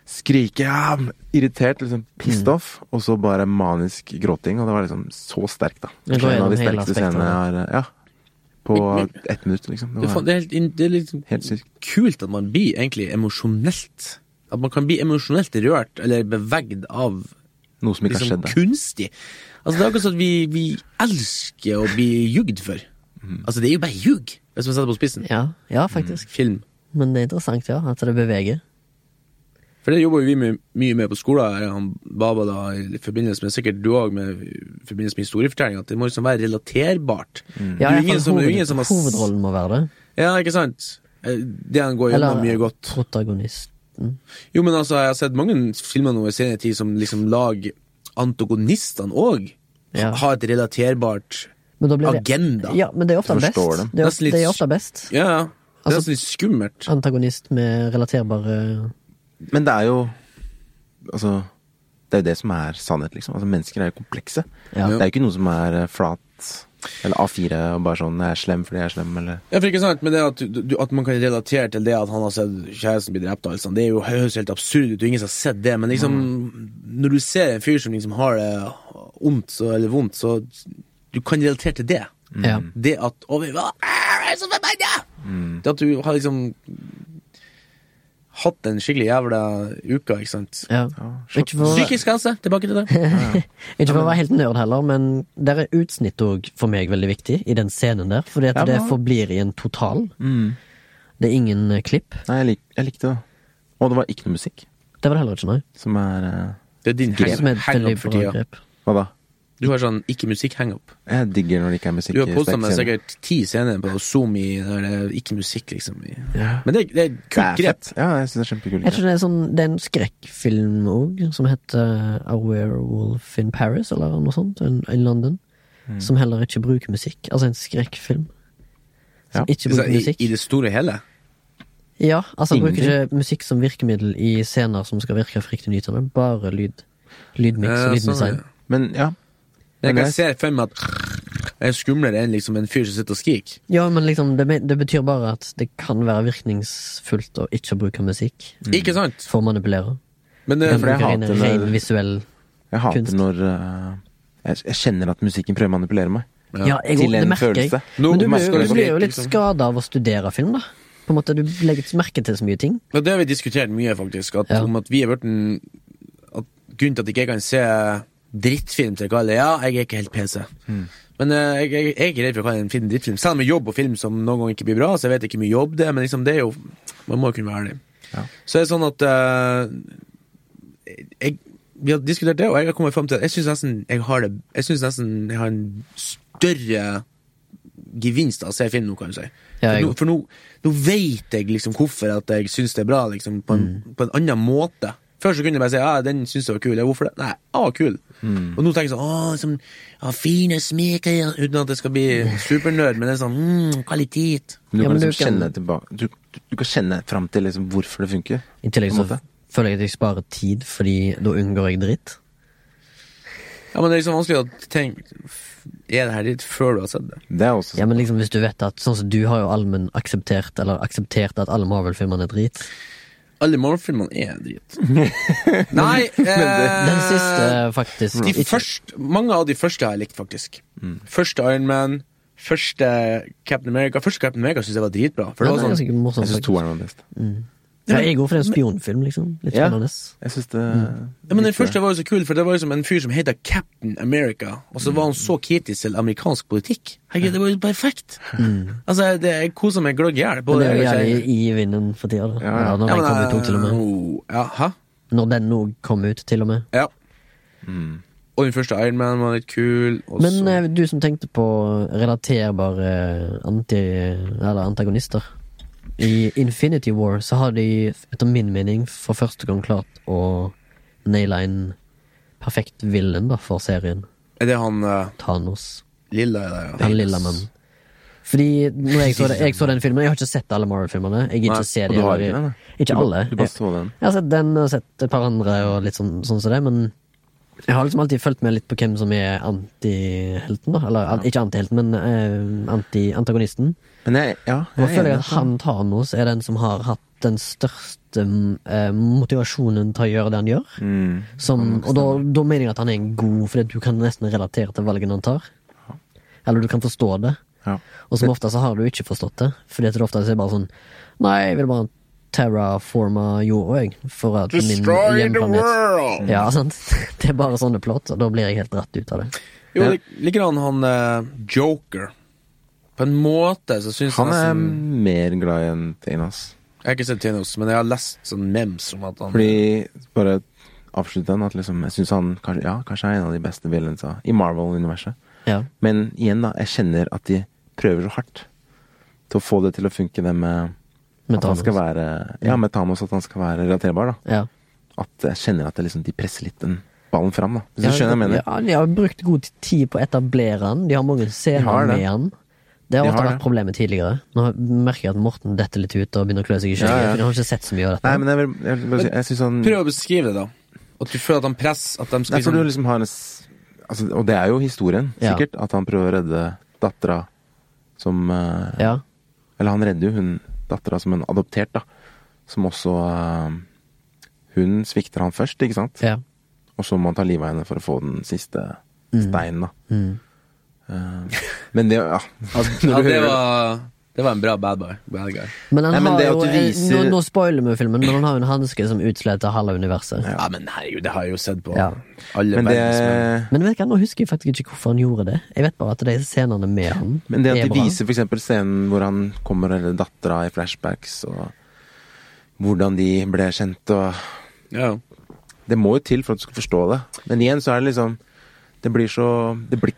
Speaker 1: Skrike, ja, irritert, liksom pissed
Speaker 3: Mm.
Speaker 1: off. Og så bare manisk gråting. Og det var liksom så sterkt, da.
Speaker 3: Det går
Speaker 1: en av de
Speaker 3: gjennom hele
Speaker 1: sterkeste scenene jeg har Ja. På
Speaker 2: Men-
Speaker 1: ett minutt, liksom.
Speaker 2: Det,
Speaker 1: Det
Speaker 2: er faen-
Speaker 1: var
Speaker 2: det er helt, inn- det er litt sånn
Speaker 1: helt sykt.
Speaker 2: kult at man blir egentlig emosjonelt. At man kan bli emosjonelt rørt eller bevegd av
Speaker 1: Noe som ikke har skjedd.
Speaker 2: liksom
Speaker 1: da.
Speaker 2: kunstig. Altså, det er akkurat sånn at vi, vi elsker å bli jugd for. Altså, det er jo bare ljug, hvis man setter det på spissen.
Speaker 3: Ja, ja, faktisk.
Speaker 2: Film.
Speaker 3: Men det er interessant, ja. At det beveger.
Speaker 2: For det jobber jo vi med, mye med på skolen, her, han Baba da, i forbindelse med, sikkert du òg, med- i forbindelse med historiefortelling, at det må liksom være relaterbart.
Speaker 3: Ja,
Speaker 2: Mm. det er
Speaker 3: i
Speaker 2: jo ingen
Speaker 3: hvert fall
Speaker 2: som, det er jo
Speaker 3: hoved-
Speaker 2: ingen som har s-
Speaker 3: Hovedrollen må være det.
Speaker 2: Ja, ikke sant? Eh, Det han går
Speaker 3: Eller
Speaker 2: gjennom mye godt.
Speaker 3: protagonisten.
Speaker 2: Jo, men altså, jeg har sett mange filmer nå i senere tid som liksom lag antagonistene òg
Speaker 3: Ja.
Speaker 2: har et relaterbart
Speaker 3: Men da blir det-
Speaker 2: Agenda.
Speaker 3: Ja, men det er ofte
Speaker 1: Du
Speaker 3: best.
Speaker 1: forstår dem.
Speaker 3: Det er,
Speaker 2: Nesten litt-
Speaker 3: det er ofte best.
Speaker 2: Ja, ja. Det er altså
Speaker 3: Altså-
Speaker 2: litt skummelt.
Speaker 3: Antagonist med relaterbare
Speaker 1: Men det er jo Altså, det er jo det som er sannhet, liksom. Altså, mennesker er jo komplekse.
Speaker 3: Ja.
Speaker 1: Det er jo ikke noe som er eh, flat eller A4 og bare sånn 'jeg er slem fordi jeg er slem', eller
Speaker 2: Ja, for ikke sant, men det at, du, du, at man kan relatere til det at han har sett kjæresten bli drept, og alt sånt, det er jo høres helt absurd ut, og ingen som har sett det, men liksom, når du ser en fyr som liksom har det ondt, så, eller vondt, så du kan relatere til det.
Speaker 3: Ja.
Speaker 2: Det at over, hva er det som er meg, Det at du har liksom hatt en skikkelig jævla uke, ikke sant?
Speaker 3: ja.
Speaker 1: slått-
Speaker 3: Ikke for,
Speaker 2: Psykisk helse, tilbake til det.
Speaker 3: ikke for å være helt nerd heller, men der er utsnitt òg for meg veldig viktig, i den scenen der. Fordi at
Speaker 1: Ja,
Speaker 3: det
Speaker 1: men-
Speaker 3: forblir i en total. Det er ingen eh, klipp.
Speaker 1: Nei, jeg, lik, jeg likte det. Og det var ikke noe musikk.
Speaker 3: Det var det heller ikke, nei.
Speaker 1: Som er eh,
Speaker 2: Det er din
Speaker 3: Grep. Som er
Speaker 2: hang-
Speaker 3: et veldig
Speaker 2: hang-up for
Speaker 3: bra
Speaker 2: tida.
Speaker 3: grep.
Speaker 1: Hva da?
Speaker 2: Du har sånn ikke-musikk-hang-up.
Speaker 1: Jeg digger når det ikke er musikk
Speaker 2: Du har
Speaker 1: i
Speaker 2: posta meg
Speaker 1: sterk scene.
Speaker 2: sikkert ti scener på Zoom i der det er ikke-musikk, liksom. i-
Speaker 1: Ja.
Speaker 2: Men det, det er et
Speaker 1: Det er
Speaker 2: kult grep.
Speaker 1: fett. Ja, jeg syns det er kjempekult.
Speaker 3: Jeg tror det er, sånn, det er en skrekkfilm òg, som heter eh, A Werewolf in Paris, eller noe sånt, in, in London.
Speaker 2: Mm.
Speaker 3: Som heller ikke bruker musikk. Altså en skrekkfilm. Som
Speaker 1: Ja.
Speaker 2: Så
Speaker 3: ikke
Speaker 2: liksom,
Speaker 3: bruker
Speaker 2: I,
Speaker 3: musikk.
Speaker 2: I det store og hele.
Speaker 3: Ja, altså han bruker
Speaker 1: Ingenting.
Speaker 3: ikke musikk som virkemiddel i scener som skal virke fryktelig nytende. Bare lyd. Lydmiks
Speaker 2: Ja,
Speaker 3: og
Speaker 2: sånn,
Speaker 3: lyddesign.
Speaker 2: ja.
Speaker 1: Men ja.
Speaker 2: Men jeg
Speaker 1: Men jeg-
Speaker 2: kan se for meg at jeg er skumlere enn liksom en fyr som sitter og skriker.
Speaker 3: Ja, men liksom, det, men- det betyr bare at det kan være virkningsfullt å ikke bruke musikk
Speaker 2: Ikke sant?
Speaker 3: for å manipulere.
Speaker 2: Men eh, det,
Speaker 3: Den
Speaker 1: for jeg
Speaker 3: bruker en
Speaker 1: hater når-
Speaker 3: ren visuell
Speaker 1: Jeg hater
Speaker 3: Kunst.
Speaker 1: når eh, jeg, jeg kjenner at musikken prøver å manipulere meg.
Speaker 3: Ja, jeg,
Speaker 1: Til
Speaker 3: også, det
Speaker 1: en
Speaker 3: merker jeg.
Speaker 1: følelse.
Speaker 2: Nå
Speaker 3: Men du blir,
Speaker 2: merker
Speaker 3: jo-
Speaker 2: jeg
Speaker 3: du blir jo
Speaker 2: litt,
Speaker 3: litt
Speaker 2: liksom.
Speaker 3: skada av å studere film, da. På en måte, Du legger ikke merke til så mye ting.
Speaker 2: Men det har vi diskutert mye, faktisk. At,
Speaker 3: Ja.
Speaker 2: Om at vi er blitt en at Grunnen til at ikke jeg kan se drittfilm til Kalle Ja, jeg er ikke helt PC.
Speaker 3: Mm.
Speaker 2: Men eh, jeg, jeg, jeg er ikke redd for å kalle en film drittfilm. Selv om jobb og film som noen ganger ikke blir bra, så jeg vet ikke hvor mye jobb det er, men liksom det er jo Man må jo kunne være ærlig.
Speaker 1: Ja.
Speaker 2: Så det er sånn at eh, jeg, Vi har diskutert det, og jeg har kommet frem til at jeg syns nesten jeg har det Jeg synes nesten jeg har en større gevinst av å se film nå, kan du si.
Speaker 3: Ja,
Speaker 2: for
Speaker 3: jeg-
Speaker 2: nå, for nå, nå veit jeg liksom hvorfor at jeg syns det er bra, liksom, på en,
Speaker 3: Mm.
Speaker 2: på en annen måte. Før så kunne jeg bare si ja, den syns jeg var kul. Ja, hvorfor det? Nei, jeg var kul.
Speaker 3: Mm.
Speaker 2: Og nå tenker jeg sånn Å, liksom, ja, fine smeker Uten at jeg skal bli supernerd, men det er sånn mm, kvalitet.
Speaker 1: Men du
Speaker 3: Ja,
Speaker 1: kan
Speaker 3: men du
Speaker 1: liksom
Speaker 3: kan-
Speaker 1: kjenne tilbake Du, du, du kan kjenne fram til liksom hvorfor det funker.
Speaker 3: I tillegg
Speaker 1: på en
Speaker 3: så
Speaker 1: måte.
Speaker 3: føler jeg at jeg sparer tid, fordi da unngår jeg dritt.
Speaker 2: Ja, men det er liksom vanskelig å tenke Er det her ditt før du har sett det?
Speaker 1: Det er også sånn.
Speaker 3: Ja, men liksom Hvis du vet at sånn som du har jo allmenn akseptert Eller akseptert at alle Marvel-filmene er drit.
Speaker 2: Alle Marvel-filmene er drit. Nei eh,
Speaker 3: Den siste, faktisk.
Speaker 2: de
Speaker 3: ikke-
Speaker 2: første, Mange av de første har jeg likt, faktisk. Første Iron Man, første Captain America. Første Captain America syns jeg var dritbra. For
Speaker 3: Ja,
Speaker 2: det
Speaker 3: det er
Speaker 2: var sånn
Speaker 3: ganske morsomt.
Speaker 1: Jeg syns
Speaker 3: faktisk.
Speaker 1: toeren var best.
Speaker 3: Ja, jeg går altså. for en spionfilm, liksom. Litt
Speaker 1: Ja.
Speaker 3: spennende.
Speaker 1: Jeg synes det
Speaker 3: Mm.
Speaker 2: Ja, men Den første var jo så kul, for det var jo som en fyr som heter Captain America, og så var han så kritisk til amerikansk politikk. Herregud, det var jo perfekt! Altså, det, Jeg koser meg gløgg i hjel.
Speaker 3: Mm. Men
Speaker 2: både
Speaker 3: det er
Speaker 2: jeg
Speaker 3: jo
Speaker 2: og
Speaker 3: jævlig
Speaker 2: kjerringa.
Speaker 3: i vinden for tida. da.
Speaker 1: Ja, ja.
Speaker 3: Ja, eh, når den kom ut nå, til og med.
Speaker 2: eh, Ja, hæ?
Speaker 3: Når den nå kom ut, til og med.
Speaker 2: Ja.
Speaker 1: Mm.
Speaker 2: Og den første Iron Man var litt kul. Og
Speaker 3: Men
Speaker 2: så,
Speaker 3: eh, du som tenkte på relaterbare anti, eller antagonister I Infinity War så har de, etter min mening, for første gang klart å naile en perfekt villain da, for serien.
Speaker 2: er det han eh,
Speaker 3: Thanos.
Speaker 2: lilla der? ja?
Speaker 3: Han lille mannen. Fordi når jeg så, det, jeg så den filmen Jeg har ikke sett alle Marvel-filmene. Jeg gidder
Speaker 2: Nei,
Speaker 3: ikke se
Speaker 1: og
Speaker 3: de
Speaker 1: du har
Speaker 3: eller-
Speaker 1: ikke den, da? Du
Speaker 3: Ikke
Speaker 1: ba-
Speaker 3: alle.
Speaker 1: du bare
Speaker 3: Jeg-
Speaker 1: så den?
Speaker 3: Jeg har sett den og sett et par andre og litt sånn, sånn som det, men jeg har liksom alltid fulgt med litt på hvem som er antihelten, da. Eller an, ikke antihelten, men eh, anti, antagonisten.
Speaker 1: Men jeg, ja,
Speaker 3: Og
Speaker 1: jeg
Speaker 3: jeg
Speaker 1: er
Speaker 3: føler
Speaker 1: enig.
Speaker 3: at han Thanos er den som har hatt den største mm, eh, motivasjonen til å gjøre det han gjør.
Speaker 1: Mm.
Speaker 3: Som, og da, da mener jeg at han er en god, fordi du kan nesten relatere til valgene han tar. Eller du kan forstå det.
Speaker 1: Ja.
Speaker 3: Og som ofte så har du ikke forstått det. Fordi at det ofte er bare sånn Nei, jeg vil bare terraforma jorda, jeg. For at min hjemplanet
Speaker 2: world!
Speaker 3: Ja, sant. Det er bare sånne plott, og da blir jeg helt dratt ut av det.
Speaker 2: Jo, lik- likedan han eh, Joker. På en måte så syns jeg
Speaker 1: Han er
Speaker 2: nesten
Speaker 3: sånn-
Speaker 1: mer glad i enn Tane, ass.
Speaker 2: Jeg har ikke sett Thanos, men jeg har lest sånn memes om at han
Speaker 1: Fordi Bare avslutte den, at liksom Jeg syns han kanskje, ja, kanskje er en av de beste villainsa i Marvel-universet.
Speaker 3: Ja.
Speaker 1: Men igjen, da. Jeg kjenner at de prøver så hardt til å få det til å funke, det med
Speaker 3: Med
Speaker 1: at han skal
Speaker 3: Thanos.
Speaker 1: være Ja, med Thanos, at han skal være relaterbar, da.
Speaker 3: Ja.
Speaker 1: At jeg kjenner at det liksom, de presser litt den ballen fram, da. Hvis du skjønner hva jeg mener?
Speaker 3: Ja, de har brukt god tid på å etablere han. De har mange scener
Speaker 1: De har det.
Speaker 3: med han. Det har
Speaker 1: De
Speaker 3: ofte
Speaker 1: har
Speaker 3: vært
Speaker 1: det.
Speaker 3: problemet tidligere. Nå merker jeg at Morten detter litt ut og begynner å klø seg i
Speaker 1: Ja,
Speaker 3: skjegget.
Speaker 1: ja.
Speaker 3: For jeg har ikke sett så mye av dette.
Speaker 1: Nei, men jeg, vil, jeg, vil bare si, jeg syns han
Speaker 2: Prøv å beskrive det, da. At du føler at han press At de skal
Speaker 1: Nei, for
Speaker 2: liksom,
Speaker 1: du liksom har en s- altså, Og det er jo historien,
Speaker 3: sånn. Ja.
Speaker 1: sikkert, at han prøver å redde dattera som eh,
Speaker 3: Ja.
Speaker 1: Eller han redder jo hun dattera som hun adoptert, da. Som også eh, Hun svikter han først, ikke sant?
Speaker 3: ja.
Speaker 1: Og så må han ta livet av henne for å få den siste
Speaker 2: Mm.
Speaker 1: steinen, da. Eh, men det Ja.
Speaker 2: ja,
Speaker 1: når du
Speaker 2: det,
Speaker 1: hører-
Speaker 2: var, det var en bra bad boy. Bad guy.
Speaker 3: Men han
Speaker 1: Nei, men
Speaker 3: har
Speaker 1: det
Speaker 3: jo
Speaker 1: at du
Speaker 3: en-
Speaker 1: viser-
Speaker 3: nå, nå spoiler vi filmen, men han har jo en hanske som utsletter halve universet.
Speaker 2: Ja, men herregud, det har jeg jo sett på
Speaker 3: Ja.
Speaker 2: alle
Speaker 1: Men
Speaker 2: verdens menn.
Speaker 1: det
Speaker 3: Men vet du hva, nå husker jeg faktisk ikke hvorfor han gjorde det. Jeg vet bare at de scenene med han
Speaker 1: Men det
Speaker 3: er
Speaker 1: at de
Speaker 3: bra.
Speaker 1: viser f.eks. scenen hvor han kommer og redder dattera i flashbacks, og hvordan de ble kjent, og
Speaker 2: Ja.
Speaker 1: Det må jo til for at du skal forstå det. Men igjen så er det liksom Det blir så Det, blir,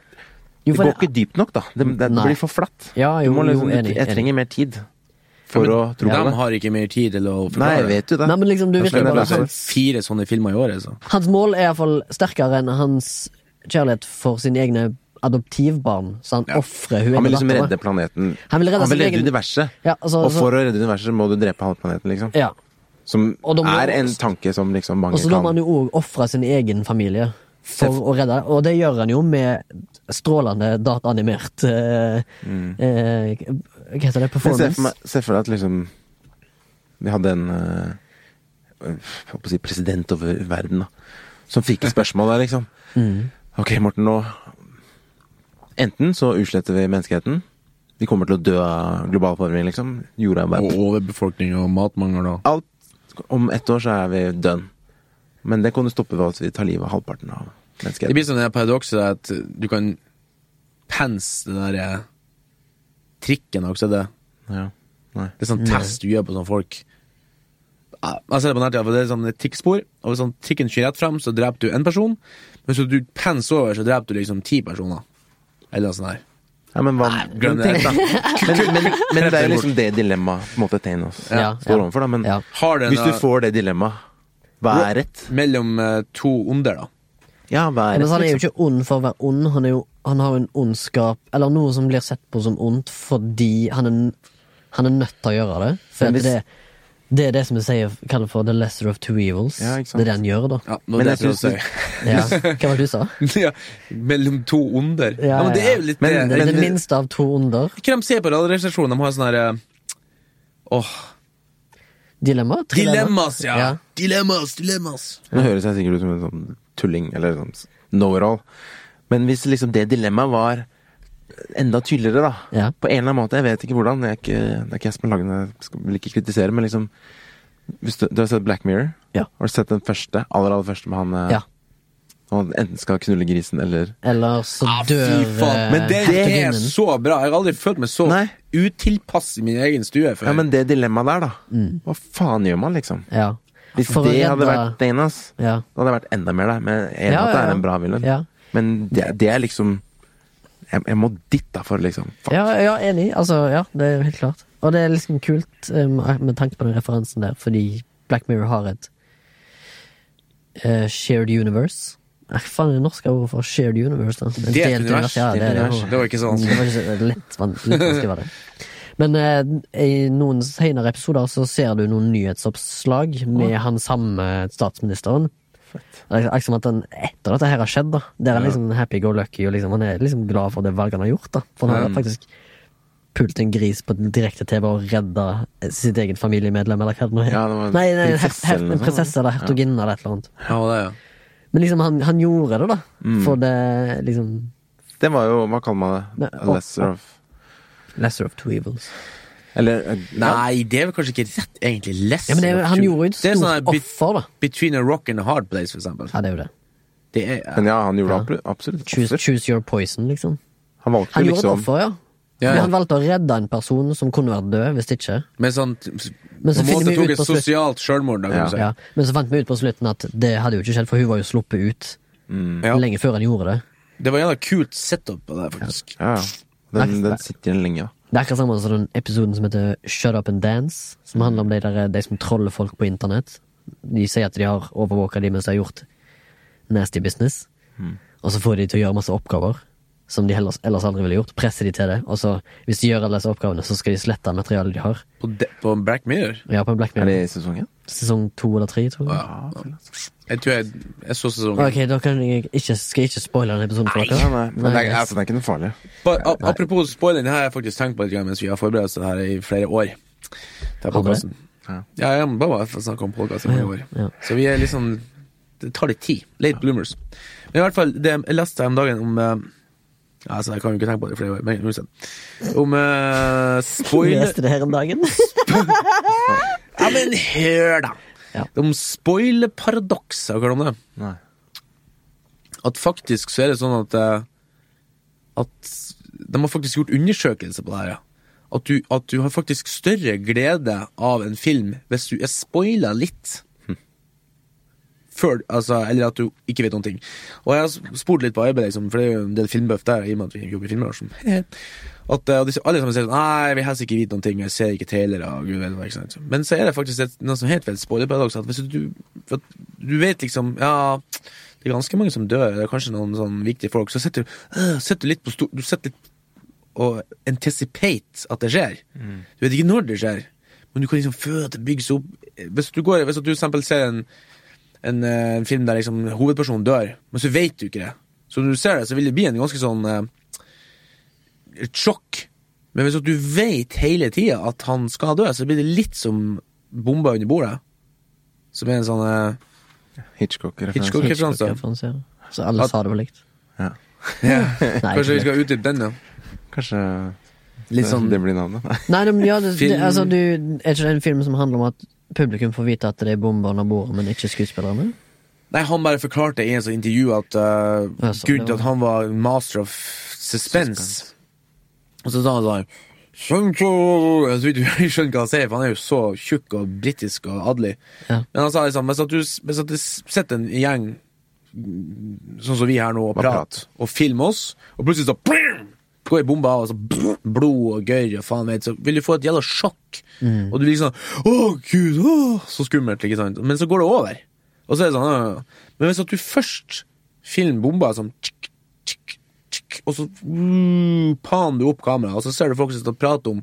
Speaker 3: Jo,
Speaker 1: det
Speaker 3: for
Speaker 1: går
Speaker 3: det-
Speaker 1: ikke dypt nok, da. Det, det, det
Speaker 3: Nei.
Speaker 1: blir for flatt.
Speaker 3: Ja, jo,
Speaker 1: du må liksom,
Speaker 3: jo, enig,
Speaker 1: jeg
Speaker 3: enig.
Speaker 1: trenger mer tid for å tro på
Speaker 2: De
Speaker 1: det.
Speaker 2: har ikke mer tid til å
Speaker 1: Nei,
Speaker 2: forklare
Speaker 1: jeg vet jo det.
Speaker 3: Nei, men liksom, du
Speaker 1: Jeg
Speaker 3: virker
Speaker 1: skjønner
Speaker 3: bare
Speaker 2: det.
Speaker 1: det.
Speaker 3: sånn
Speaker 2: er fire sånne filmer i året, så.
Speaker 3: Hans mål er iallfall sterkere enn hans kjærlighet for sine egne adoptivbarn. Så han ofrer hun
Speaker 1: Han vil
Speaker 3: ene
Speaker 1: liksom
Speaker 3: datteren.
Speaker 1: redde planeten.
Speaker 3: Han vil redde sin egen-
Speaker 1: universet.
Speaker 3: Ja, altså-
Speaker 1: og for å redde universet må du drepe halve planeten, liksom.
Speaker 3: Ja.
Speaker 1: Som
Speaker 3: Og da må-
Speaker 1: er en tanke som liksom mange
Speaker 3: Og så da må
Speaker 1: kan
Speaker 3: han jo òg ofre sin egen familie for å redde, og det gjør han jo med strålende dataanimert eh,
Speaker 1: Mm.
Speaker 3: eh, Hva
Speaker 1: Men
Speaker 3: heter det?
Speaker 1: se
Speaker 3: Performance?
Speaker 1: for, meg, se for deg at liksom Vi hadde en eh, jeg holdt på å si president over verden, da. Som fikk et spørsmål der, liksom. Ok, Morten, nå Enten så utsletter vi menneskeheten. Vi kommer til å dø av global forvirring, liksom. Jorda er bare
Speaker 2: Og overbefolkning og matmangel og
Speaker 1: Alt Om ett år så er vi dønn. Men det kan du stoppe ved at vi tar livet av halvparten av
Speaker 2: Det
Speaker 1: menneskeheten.
Speaker 2: blir sånn det paradokset at du kan pense den der eh, trikken også, det.
Speaker 1: Ja. Nei.
Speaker 2: Det er sånn test du gjør på sånne folk. Ja, Jeg ser det på nettet, for det er sånn et trikkspor, og hvis sånn trikken kjører rett frem, så dreper du en person, men hvis du penser over, så dreper du liksom ti personer. Eller noe sånt der.
Speaker 1: Ja, men hva
Speaker 2: glem
Speaker 1: men tenk
Speaker 2: det.
Speaker 1: da. Men, men, men det er jo liksom det dilemmaet på en måte Thanos
Speaker 3: Ja,
Speaker 1: står
Speaker 3: ja.
Speaker 1: overfor, da. Men
Speaker 3: Ja.
Speaker 2: Har du en,
Speaker 1: hvis du
Speaker 2: eh,
Speaker 1: får det dilemmaet, hva er rett?
Speaker 2: Mellom eh, to onder, da.
Speaker 1: Ja, hva er
Speaker 3: Men
Speaker 1: rett?
Speaker 3: han er jo
Speaker 1: Liksom?
Speaker 3: ikke ond for å være ond, han, er jo, han har en ondskap Eller noe som blir sett på som ondt fordi han er, han er nødt til å gjøre det. For
Speaker 1: Men hvis-
Speaker 3: det, det er det som vi sier kaller for the lesser of two evils.
Speaker 1: Ja, ikke sant.
Speaker 3: det er det han gjør, da.
Speaker 2: Ja, nå
Speaker 1: Men
Speaker 2: det
Speaker 1: jeg
Speaker 2: tror
Speaker 1: synes
Speaker 2: jeg
Speaker 3: Ja. Hva var det du sa?
Speaker 2: ja, mellom to onder. Ja,
Speaker 3: Ja,
Speaker 2: men det
Speaker 3: ja, ja.
Speaker 2: er jo litt eh,
Speaker 1: Men-
Speaker 2: det.
Speaker 3: Det,
Speaker 1: men-
Speaker 3: det minste av to onder.
Speaker 2: Hva de ser på Radioresepsjonen? De har sånn her eh, Åh,
Speaker 3: Dilemma? Trilemma?
Speaker 2: dilemmas, ja.
Speaker 3: Ja.
Speaker 2: Dilemmas, dilemmas.
Speaker 1: Nå høres jeg sikkert ut som en sånn tulling, eller sånn know-it-all. Men hvis liksom det dilemmaet var enda tydeligere, da.
Speaker 3: Ja.
Speaker 1: På en eller annen måte. Jeg vet ikke hvordan. Jeg er ikke, det er ikke jeg som har laget den, jeg skal- vil ikke kritisere, men liksom hvis du, du har sett Black Mirror?
Speaker 3: Ja.
Speaker 1: Har du sett den første? Aller, aller første med han eh,
Speaker 3: Ja.
Speaker 1: Han enten skal knulle grisen eller
Speaker 3: Eller så
Speaker 1: Ah,
Speaker 3: dør eh,
Speaker 2: Ah, Men det, det er
Speaker 3: hertuginnen.
Speaker 2: så bra. Jeg har aldri følt meg så
Speaker 1: Nei.
Speaker 2: utilpass i min egen stue før.
Speaker 1: Ja, men det dilemmaet der, da. Hva faen gjør man, liksom?
Speaker 3: Mm. Ja.
Speaker 1: Hvis
Speaker 3: For å
Speaker 1: det
Speaker 3: redde-
Speaker 1: hadde vært Danas,
Speaker 3: Ja.
Speaker 1: da hadde jeg vært enda mer der. Men jeg er enig
Speaker 3: Ja,
Speaker 1: at det
Speaker 3: ja,
Speaker 1: er
Speaker 3: ja.
Speaker 1: en bra villain.
Speaker 3: Ja.
Speaker 1: Men det, det er liksom jeg, jeg må dit, da, for liksom Fuck.
Speaker 3: Ja, ja, enig. Altså, ja, det er helt klart. Og det er liksom kult eh, med tanke på den referansen der, fordi Black Mirror har et eh, shared universe. Hva faen er det norske ordet for shared universe? da? Et
Speaker 2: Delt univers,
Speaker 3: Ja, det,
Speaker 1: delt
Speaker 3: er
Speaker 1: univers.
Speaker 3: ordet.
Speaker 2: Det var ikke så vanskelig.
Speaker 3: Det var ikke så lett, van- litt vanskelig var det. Men eh, i noen senere episoder så ser du noen nyhetsoppslag med han samme statsministeren. Det er Akkurat som at han etter dette her har skjedd, da. Der er han liksom happy go lucky, og liksom, han er liksom glad for det valget han har gjort, da. For han har faktisk pult en gris på direkte-TV og redda eh, sitt eget familiemedlem, eller hva det nå er.
Speaker 1: Ja, det var en
Speaker 3: nei, nei, en her-
Speaker 1: prinsesse eller
Speaker 3: her-
Speaker 1: noe
Speaker 3: en
Speaker 1: sånt,
Speaker 3: prinsesse eller hertuginne eller et eller annet.
Speaker 2: Ja, det, ja.
Speaker 3: Men liksom, han, han gjorde det, da. For det liksom
Speaker 1: Det var jo Hva kaller man det?
Speaker 3: Nei,
Speaker 1: A lesser of
Speaker 3: Lesser of two evils.
Speaker 1: Eller eh,
Speaker 2: Nei, det er vel kanskje ikke rett, egentlig. Less
Speaker 3: Ja, men det,
Speaker 2: of
Speaker 3: han
Speaker 2: two-
Speaker 3: gjorde jo et
Speaker 2: Det er
Speaker 3: stort
Speaker 2: sånn her be-
Speaker 3: offer, da.
Speaker 2: Between a rock and a hard place, for eksempel.
Speaker 3: Ja, det er jo det.
Speaker 2: Det er, ja.
Speaker 1: Men ja, han gjorde det absolutt.
Speaker 3: Choose,
Speaker 1: absolutt.
Speaker 3: choose your poison, liksom.
Speaker 1: Han valgte
Speaker 3: Han
Speaker 1: jo
Speaker 3: gjorde et
Speaker 1: liksom
Speaker 3: offer, ja.
Speaker 2: Ja,
Speaker 3: Men
Speaker 2: ja.
Speaker 3: han valgte å redde en person som kunne vært død, hvis ikke.
Speaker 2: Men sånn
Speaker 3: Men så
Speaker 2: På en
Speaker 3: finner
Speaker 2: måte
Speaker 3: vi ut
Speaker 2: tok et
Speaker 3: på slutt-
Speaker 2: sosialt sjølmord, da, kan
Speaker 1: Ja.
Speaker 2: du si.
Speaker 3: Ja. Men så fant vi ut på slutten at det hadde jo ikke skjedd, for hun var jo sluppet ut
Speaker 2: Ja.
Speaker 3: lenge før han gjorde det.
Speaker 2: Mm. Det var jævla kult setup på det, faktisk.
Speaker 1: Ja, ja. Den, den sitter igjen lenge, da.
Speaker 3: Det er akkurat samme som den episoden som heter Shut Up and Dance, som handler om de, der, de som troller folk på internett. De sier at de har overvåka de mens de har gjort nasty business,
Speaker 2: Hmm.
Speaker 3: og så får de til å gjøre masse oppgaver som de ellers, ellers aldri ville gjort. Presser de til det, og så, hvis de gjør alle disse oppgavene, så skal de slette materialet de har.
Speaker 2: På, de, på Black Mirror.
Speaker 3: Ja, på en Black
Speaker 1: Er det i
Speaker 3: Mirror.
Speaker 1: sesongen?
Speaker 3: Sesong to eller tre, tror jeg.
Speaker 2: Ja. Jeg tror jeg, jeg så sesongen.
Speaker 3: Ok, da kan jeg ikke, skal jeg ikke spoile den episoden for
Speaker 1: Ja,
Speaker 3: dere.
Speaker 1: nei, men det er, altså, det er ikke noe farlig.
Speaker 2: Bare, ap apropos spoiler, det her har jeg faktisk tenkt på litt grann mens vi har forberedt oss til det her i flere år. Det er
Speaker 3: Har du det?
Speaker 2: podcasten.
Speaker 1: Ja.
Speaker 2: Ja, jeg må bare få snakke om podkasten i år.
Speaker 3: ja.
Speaker 2: Så vi er liksom Det tar litt tid. Late bloomers. Men i hvert fall, det jeg leste om dagen om eh, ja, altså, Jeg kan jo ikke tenke på det i flere år, men uansett. Om eh, spoiler...
Speaker 3: Leste det her om dagen.
Speaker 2: Ja, men hør, da!
Speaker 3: Ja.
Speaker 2: Om spoilerparadokset, hva om det?
Speaker 1: Nei.
Speaker 2: At faktisk så er det sånn at eh, At de har faktisk gjort undersøkelser på det her. ja. At du, at du har faktisk større glede av en film hvis du er spoila litt. før, altså, eller at du ikke vet noen ting. Og jeg har s- spurt litt på arbeidet, liksom, for det er jo en del filmbøff der, i og med at vi jobber i filmbransjen. At eh, og disse, alle sammen sier sånn Nei, vi helst ikke vite noen ting, jeg ser ikke trailere og gud vet hva. ikke sant? Men så er det faktisk et, noe som heter vel spoilerparadoks, at hvis du, for at du vet liksom Ja, det er ganske mange som dør, det er kanskje noen sånn viktige folk, så sitter du, øh, sitter du litt på stor Du sitter litt og anticipate at det skjer. Du vet ikke når det skjer, men du kan liksom føle at det bygges opp. Hvis du, går, hvis du for eksempel ser en, en, eh, en film der liksom hovedpersonen dør, men så vet du ikke det. Så når du ser det, så vil det bli en ganske sånn eh, et sjokk. Men hvis at du vet hele tida at han skal dø, så blir det litt som bomba under bordet. Som er en sånn eh,
Speaker 1: Hitchcock-referanse.
Speaker 2: Hitchcock. Hitchcock-referanse.
Speaker 3: Hitchcock-referanse, ja. Så alle
Speaker 2: At-
Speaker 3: sa det var likt.
Speaker 1: Ja.
Speaker 3: Nei,
Speaker 2: Kanskje vi
Speaker 3: ikke
Speaker 2: skal utdype den, da?
Speaker 1: Kanskje
Speaker 2: Litt sånn
Speaker 1: det blir navnet. Nei.
Speaker 3: Nei, de, ja, det, det,
Speaker 2: Film-
Speaker 3: altså, du, er ikke det en film som handler om at publikum får vite at det er bomber under bordet, men ikke skuespillerne?
Speaker 2: Nei, han bare forklarte i en sånn intervju at eh,
Speaker 3: Ja, sånn,
Speaker 2: Gud,
Speaker 3: ja.
Speaker 2: at han var master of suspense.
Speaker 1: Suspense.
Speaker 2: Og så sa han sånn «Skjønt, åh», Jeg tror ikke du skjønner hva han sier, for han er jo så tjukk og britisk og adelig.
Speaker 3: Ja.
Speaker 2: Men han sa liksom Hvis at du hvis at det sitter en gjeng mm, sånn som vi her nå og
Speaker 1: Bare
Speaker 2: prater,
Speaker 1: prat.
Speaker 2: og filmer oss, og plutselig så brum, går ei bombe av, og så brum, blod og gørr og faen vet, så vil du få et jævla sjokk.
Speaker 3: Mm.
Speaker 2: Og du blir sånn Å, gud, åh, så skummelt, ikke sant? Men så går det over. Og så er det sånn «Åh». Men hvis at du først filmer bomba sånn tsk, tsk, tsk, og så mm, pan du opp kameraet, og så ser du folk som sitter og prater om,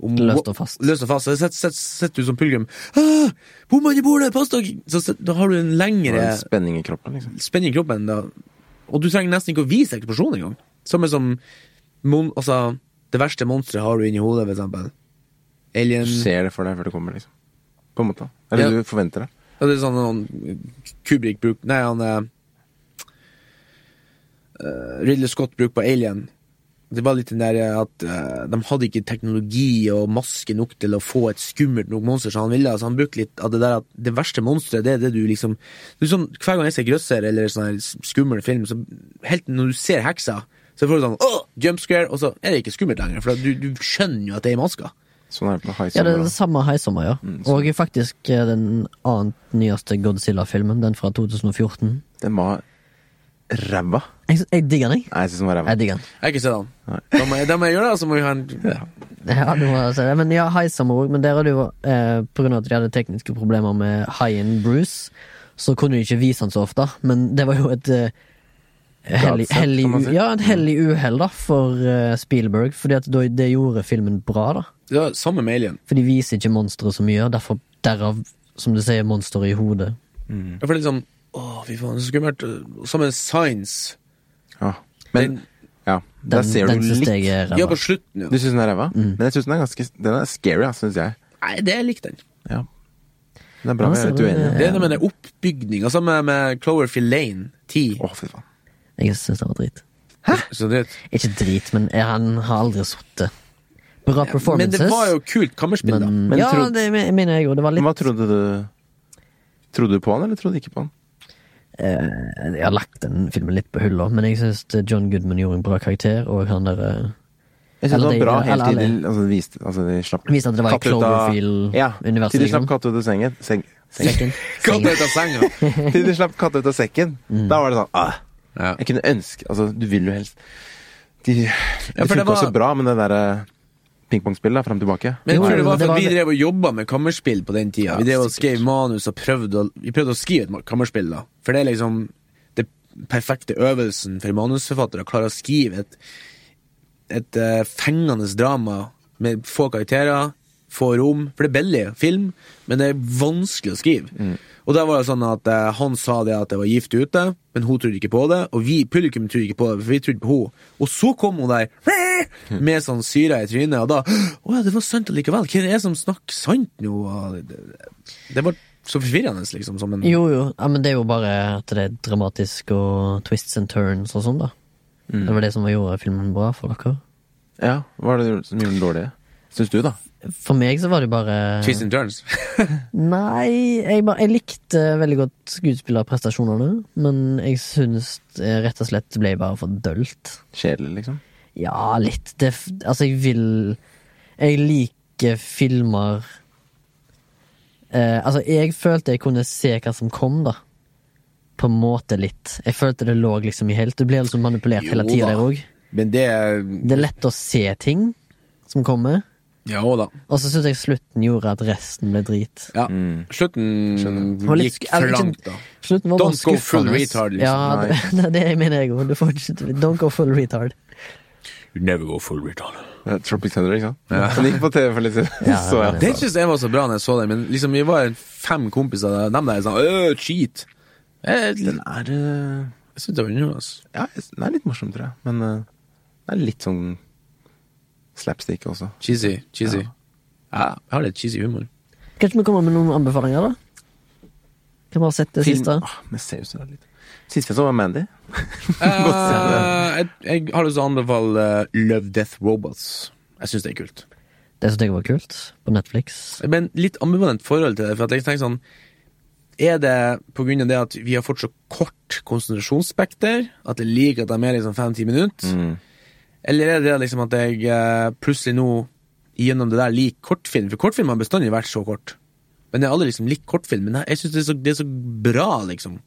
Speaker 2: om
Speaker 3: Løst og fast.
Speaker 2: Løst og fast. Så sitter- sitter sitter du som pilegrim «Ah, Bomma i bordet! Pass dere! Så sitter- Da har du en
Speaker 1: Det var
Speaker 2: lengre
Speaker 1: en spenning i kroppen, liksom.
Speaker 2: spenning i kroppen. Da. Og du trenger nesten ikke å vise eksplosjon engang. Samme som mon altså, det verste monsteret har du inni hodet, for eksempel. Alien
Speaker 3: Mm.
Speaker 1: Du ser det for deg før det kommer, liksom. På en måte. Eller
Speaker 2: Ja.
Speaker 1: du forventer det.
Speaker 2: ja, Det er sånn han Kubrick bruk Nei, han eh, eh, Ridley Scott bruk på Alien. Det var litt den der eh, at eh, de hadde ikke teknologi og maske nok til å få et skummelt nok monster som han ville. Så han brukte litt av det der at det verste monsteret, det er det du liksom det er sånn, Hver gang jeg ser grøsser eller sånn her skummel film, så helt når du ser heksa, så får du sånn Åh, jump scare, og så er det ikke skummelt lenger, for at du, du skjønner jo at det er i maska.
Speaker 1: Sånn er det på High
Speaker 3: Ja,
Speaker 1: Summer.
Speaker 3: det er det
Speaker 1: også.
Speaker 3: samme Heisommer, ja.
Speaker 1: så-
Speaker 3: Og faktisk eh, den annet nyeste Godzilla-filmen, den fra 2014.
Speaker 1: Den var ræva.
Speaker 3: Jeg, jeg digger den, jeg.
Speaker 1: Nei, jeg syns den var ræva.
Speaker 3: Jeg digger den.
Speaker 2: Jeg har ikke sett han. Da må jeg, da må jeg gjøre det, så må vi ha en
Speaker 3: Ja, du må si det. Men ja, Heisommer òg. Men der er det jo, eh, på grunn av at de hadde tekniske problemer med haien Bruce, så kunne de ikke vise han så ofte. Men det var jo et eh, Hellig,
Speaker 1: Gladsett,
Speaker 3: hellig,
Speaker 1: kan man si. Mm.
Speaker 3: u- ja, et hellig uhell, da, for eh, Spielberg. Fordi at da- det gjorde filmen bra, da.
Speaker 2: Det var samme med Alien.
Speaker 3: For de viser ikke monsteret så mye, og derfor derav, som du sier, monsteret i hodet.
Speaker 2: Jeg føler liksom Å, fy faen, det er så skummelt. Som en science.
Speaker 1: Ja. Men
Speaker 2: Den-
Speaker 1: ja, der
Speaker 3: Den,
Speaker 1: ser du
Speaker 3: den Mm. synes jeg
Speaker 1: litt.
Speaker 3: er
Speaker 2: Ja, på
Speaker 3: ræva.
Speaker 2: slutten,
Speaker 1: Du
Speaker 2: ja.
Speaker 1: syns den er ræva? Men jeg syns den er ganske Den er scary, syns jeg.
Speaker 2: Nei, det er lik den.
Speaker 1: Ja. Den er bra
Speaker 3: Ja,
Speaker 1: vi er
Speaker 3: så
Speaker 1: litt
Speaker 3: den er-
Speaker 1: uenige.
Speaker 2: Det er noe med den oppbygninga, samme med Cloverfield Lane 10.
Speaker 1: Å, fy faen.
Speaker 3: Jeg synes den var drit.
Speaker 2: Så det,
Speaker 3: Ikke drit, men han har aldri sittet. Bra
Speaker 2: men
Speaker 3: performances.
Speaker 2: det var jo kult kammerspill, da.
Speaker 3: men-
Speaker 1: Men
Speaker 3: ja,
Speaker 1: tro-
Speaker 3: det me- mener jeg jo. Det var litt
Speaker 1: Hva trodde du Trodde du på han, eller trodde du ikke på han?
Speaker 3: Eh, Jeg har lagt den filmen litt på hylla, men jeg synes det- John Goodman gjorde en bra karakter, og han der eh,
Speaker 1: Jeg synes
Speaker 3: Eller
Speaker 1: det var
Speaker 3: de-
Speaker 1: bra helt
Speaker 3: eller
Speaker 1: til
Speaker 3: alle.
Speaker 1: de, altså, de viste, altså, de slapp
Speaker 3: Viste at det var i
Speaker 1: katt ut av- Ja,
Speaker 3: Cloverfield-universet,
Speaker 1: til de slapp
Speaker 3: liksom.
Speaker 1: katt ut av sengen. Seng, seng.
Speaker 3: Sekken.
Speaker 2: Katt ut av senga.
Speaker 1: til de slapp katt ut av sekken.
Speaker 3: Mm.
Speaker 1: Da var det sånn ah,
Speaker 2: Ja.
Speaker 1: Jeg kunne ønske Altså, du vil jo helst De, de
Speaker 2: for
Speaker 1: funka
Speaker 2: det var-
Speaker 1: så bra, men det derre pingpongspillet da, fram og tilbake
Speaker 2: Men jeg
Speaker 3: Jo,
Speaker 2: tror det
Speaker 3: men
Speaker 2: var
Speaker 3: det
Speaker 2: for at vi
Speaker 3: var-
Speaker 2: drev og jobba med kammerspill på den tida. Vi drev og skrev manus og prøvde å, vi prøvde å skrive et kammerspill, da. For det er liksom det perfekte øvelsen for manusforfattere. Å klare å skrive et, et eh, fengende drama med få karakterer, få rom. For det er billig film, men det er vanskelig å skrive. Og da var det sånn at eh, han sa det at det var gift ute, men hun trodde ikke på det. Og vi publikum trodde ikke på det, for vi trodde på henne. Og så kom hun der med sånn syre i trynet, og da Å ja, det var sant allikevel. Hvem er det som snakker sant nå? Og det- Det var så forvirrende, liksom. Som en
Speaker 3: Jo, jo. Ja, men det er jo bare at det er dramatisk og twists and turns og sånn, da. Det var det som gjorde filmen bra for dere.
Speaker 1: Ja, hva er det som gjorde den dårlig? Syns du, da?
Speaker 3: For meg så var det bare
Speaker 2: twist and turns.
Speaker 3: Nei, jeg, bare, jeg likte veldig godt skuespillerprestasjonene, men jeg syns det rett og slett ble bare for dølt.
Speaker 1: Kjedelig, liksom?
Speaker 3: Ja, litt. Det, f- altså, jeg vil Jeg liker filmer eh, Altså, jeg følte jeg kunne se hva som kom, da. på en måte litt. Jeg følte det lå liksom i helt Du blir liksom manipulert hele
Speaker 2: Jo
Speaker 3: tida
Speaker 2: da.
Speaker 3: der òg.
Speaker 2: Men det er
Speaker 3: Det er lett å se ting som kommer,
Speaker 2: Ja da.
Speaker 3: og så syns jeg slutten gjorde at resten ble drit.
Speaker 2: Ja. Slutten
Speaker 3: Det var litt
Speaker 2: gikk
Speaker 3: sk-
Speaker 2: for
Speaker 3: eller ikke-
Speaker 2: langt, da.
Speaker 3: Slutten var
Speaker 2: Don't
Speaker 3: bare
Speaker 2: go full
Speaker 3: skuffende.
Speaker 2: retard, liksom.
Speaker 3: Ja, det, det er det jeg mener jeg òg. Du får ikke Don't go full retard.
Speaker 2: You never go full retard.
Speaker 1: Det er Tropic Thunder, ikke sant? Den gikk på TV for litt siden.
Speaker 3: Ja,
Speaker 1: så jeg.
Speaker 2: Den syns jeg var så bra når jeg så den, men liksom vi var fem kompiser der, dem der er sånn øh, cheat. Jeg, jeg,
Speaker 1: Den er eh,
Speaker 2: jeg syns det var underholdende. ass.
Speaker 1: Ja, jeg s- den er litt morsom, tror jeg. Men eh, den er litt sånn slapstick også.
Speaker 2: Cheesy. Cheesy. Ja, jeg har litt cheesy humor.
Speaker 3: Kanskje vi kommer med noen anbefalinger, da? Hvem har sett det
Speaker 1: Film-
Speaker 3: siste?
Speaker 1: Ah, men ser jo så litt. Siste jeg så, var Mandy.
Speaker 2: Eh, jeg, jeg har lyst til å anbefale eh, Love Death Robots. Jeg syns det er kult.
Speaker 3: Det syns jeg var kult, på Netflix.
Speaker 2: Men litt ambivalent forhold til det, for at jeg tenker sånn Er det på grunn av det at vi har fått så kort konsentrasjonsspekter, at jeg liker at de er liksom fem-ti minutter?
Speaker 1: Mm.
Speaker 2: Eller er det liksom at jeg eh, plutselig nå, gjennom det der, liker kortfilm? For kortfilm har bestandig vært så kort. Men jeg har aldri liksom likt kortfilm. Men jeg syns det, er så- det er så bra, liksom.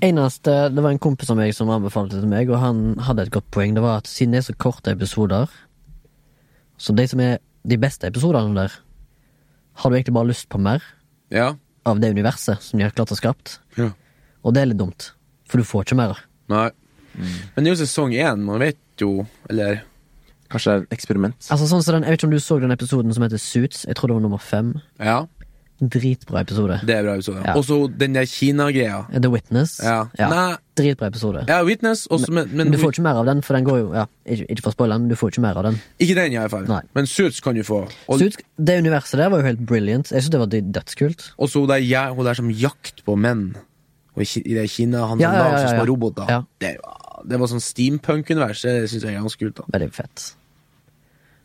Speaker 3: Eneste, Det var en kompis av meg som anbefalte det til meg, og han hadde et godt poeng. Det var at siden det er så korte episoder, så de som er de beste episodene der, har du egentlig bare lyst på mer
Speaker 2: Ja.
Speaker 3: av det universet som de har klart å skapt. Og det er litt dumt, for du får ikke mer.
Speaker 2: Nei. Mm. Men det er jo sesong én, man vet jo Eller
Speaker 1: Kanskje det er et eksperiment.
Speaker 3: Altså sånn som den, Jeg vet ikke om du så den episoden som heter Suits. Jeg tror det var nummer fem.
Speaker 2: Ja,
Speaker 3: Dritbra episode.
Speaker 2: det er bra episode.
Speaker 3: Ja.
Speaker 2: Og så den der Kina-greia.
Speaker 3: The Witness.
Speaker 2: Ja. Nei.
Speaker 3: Dritbra episode.
Speaker 2: Ja, Witness, også, men, men
Speaker 3: Men du får ikke mer av den, for den går jo ja, Ikke, ikke for å spoile den, men du får ikke mer av den.
Speaker 2: Ikke den, i hvert fall.
Speaker 3: Nei.
Speaker 2: Men Suits kan du få. Og,
Speaker 3: Suits, det universet der var jo helt brilliant. Jeg synes det var dy- dødskult.
Speaker 2: og så hun der, jeg- hun der som jakt på menn. Og i Ki- i det Kina, han som
Speaker 3: Ja, ja,
Speaker 2: lager
Speaker 3: ja,
Speaker 2: sånne
Speaker 3: ja.
Speaker 2: små roboter.
Speaker 3: Ja.
Speaker 2: Det, var- det var sånn steampunk-univers. Det syns jeg er ganske kult. da
Speaker 3: Veldig fett.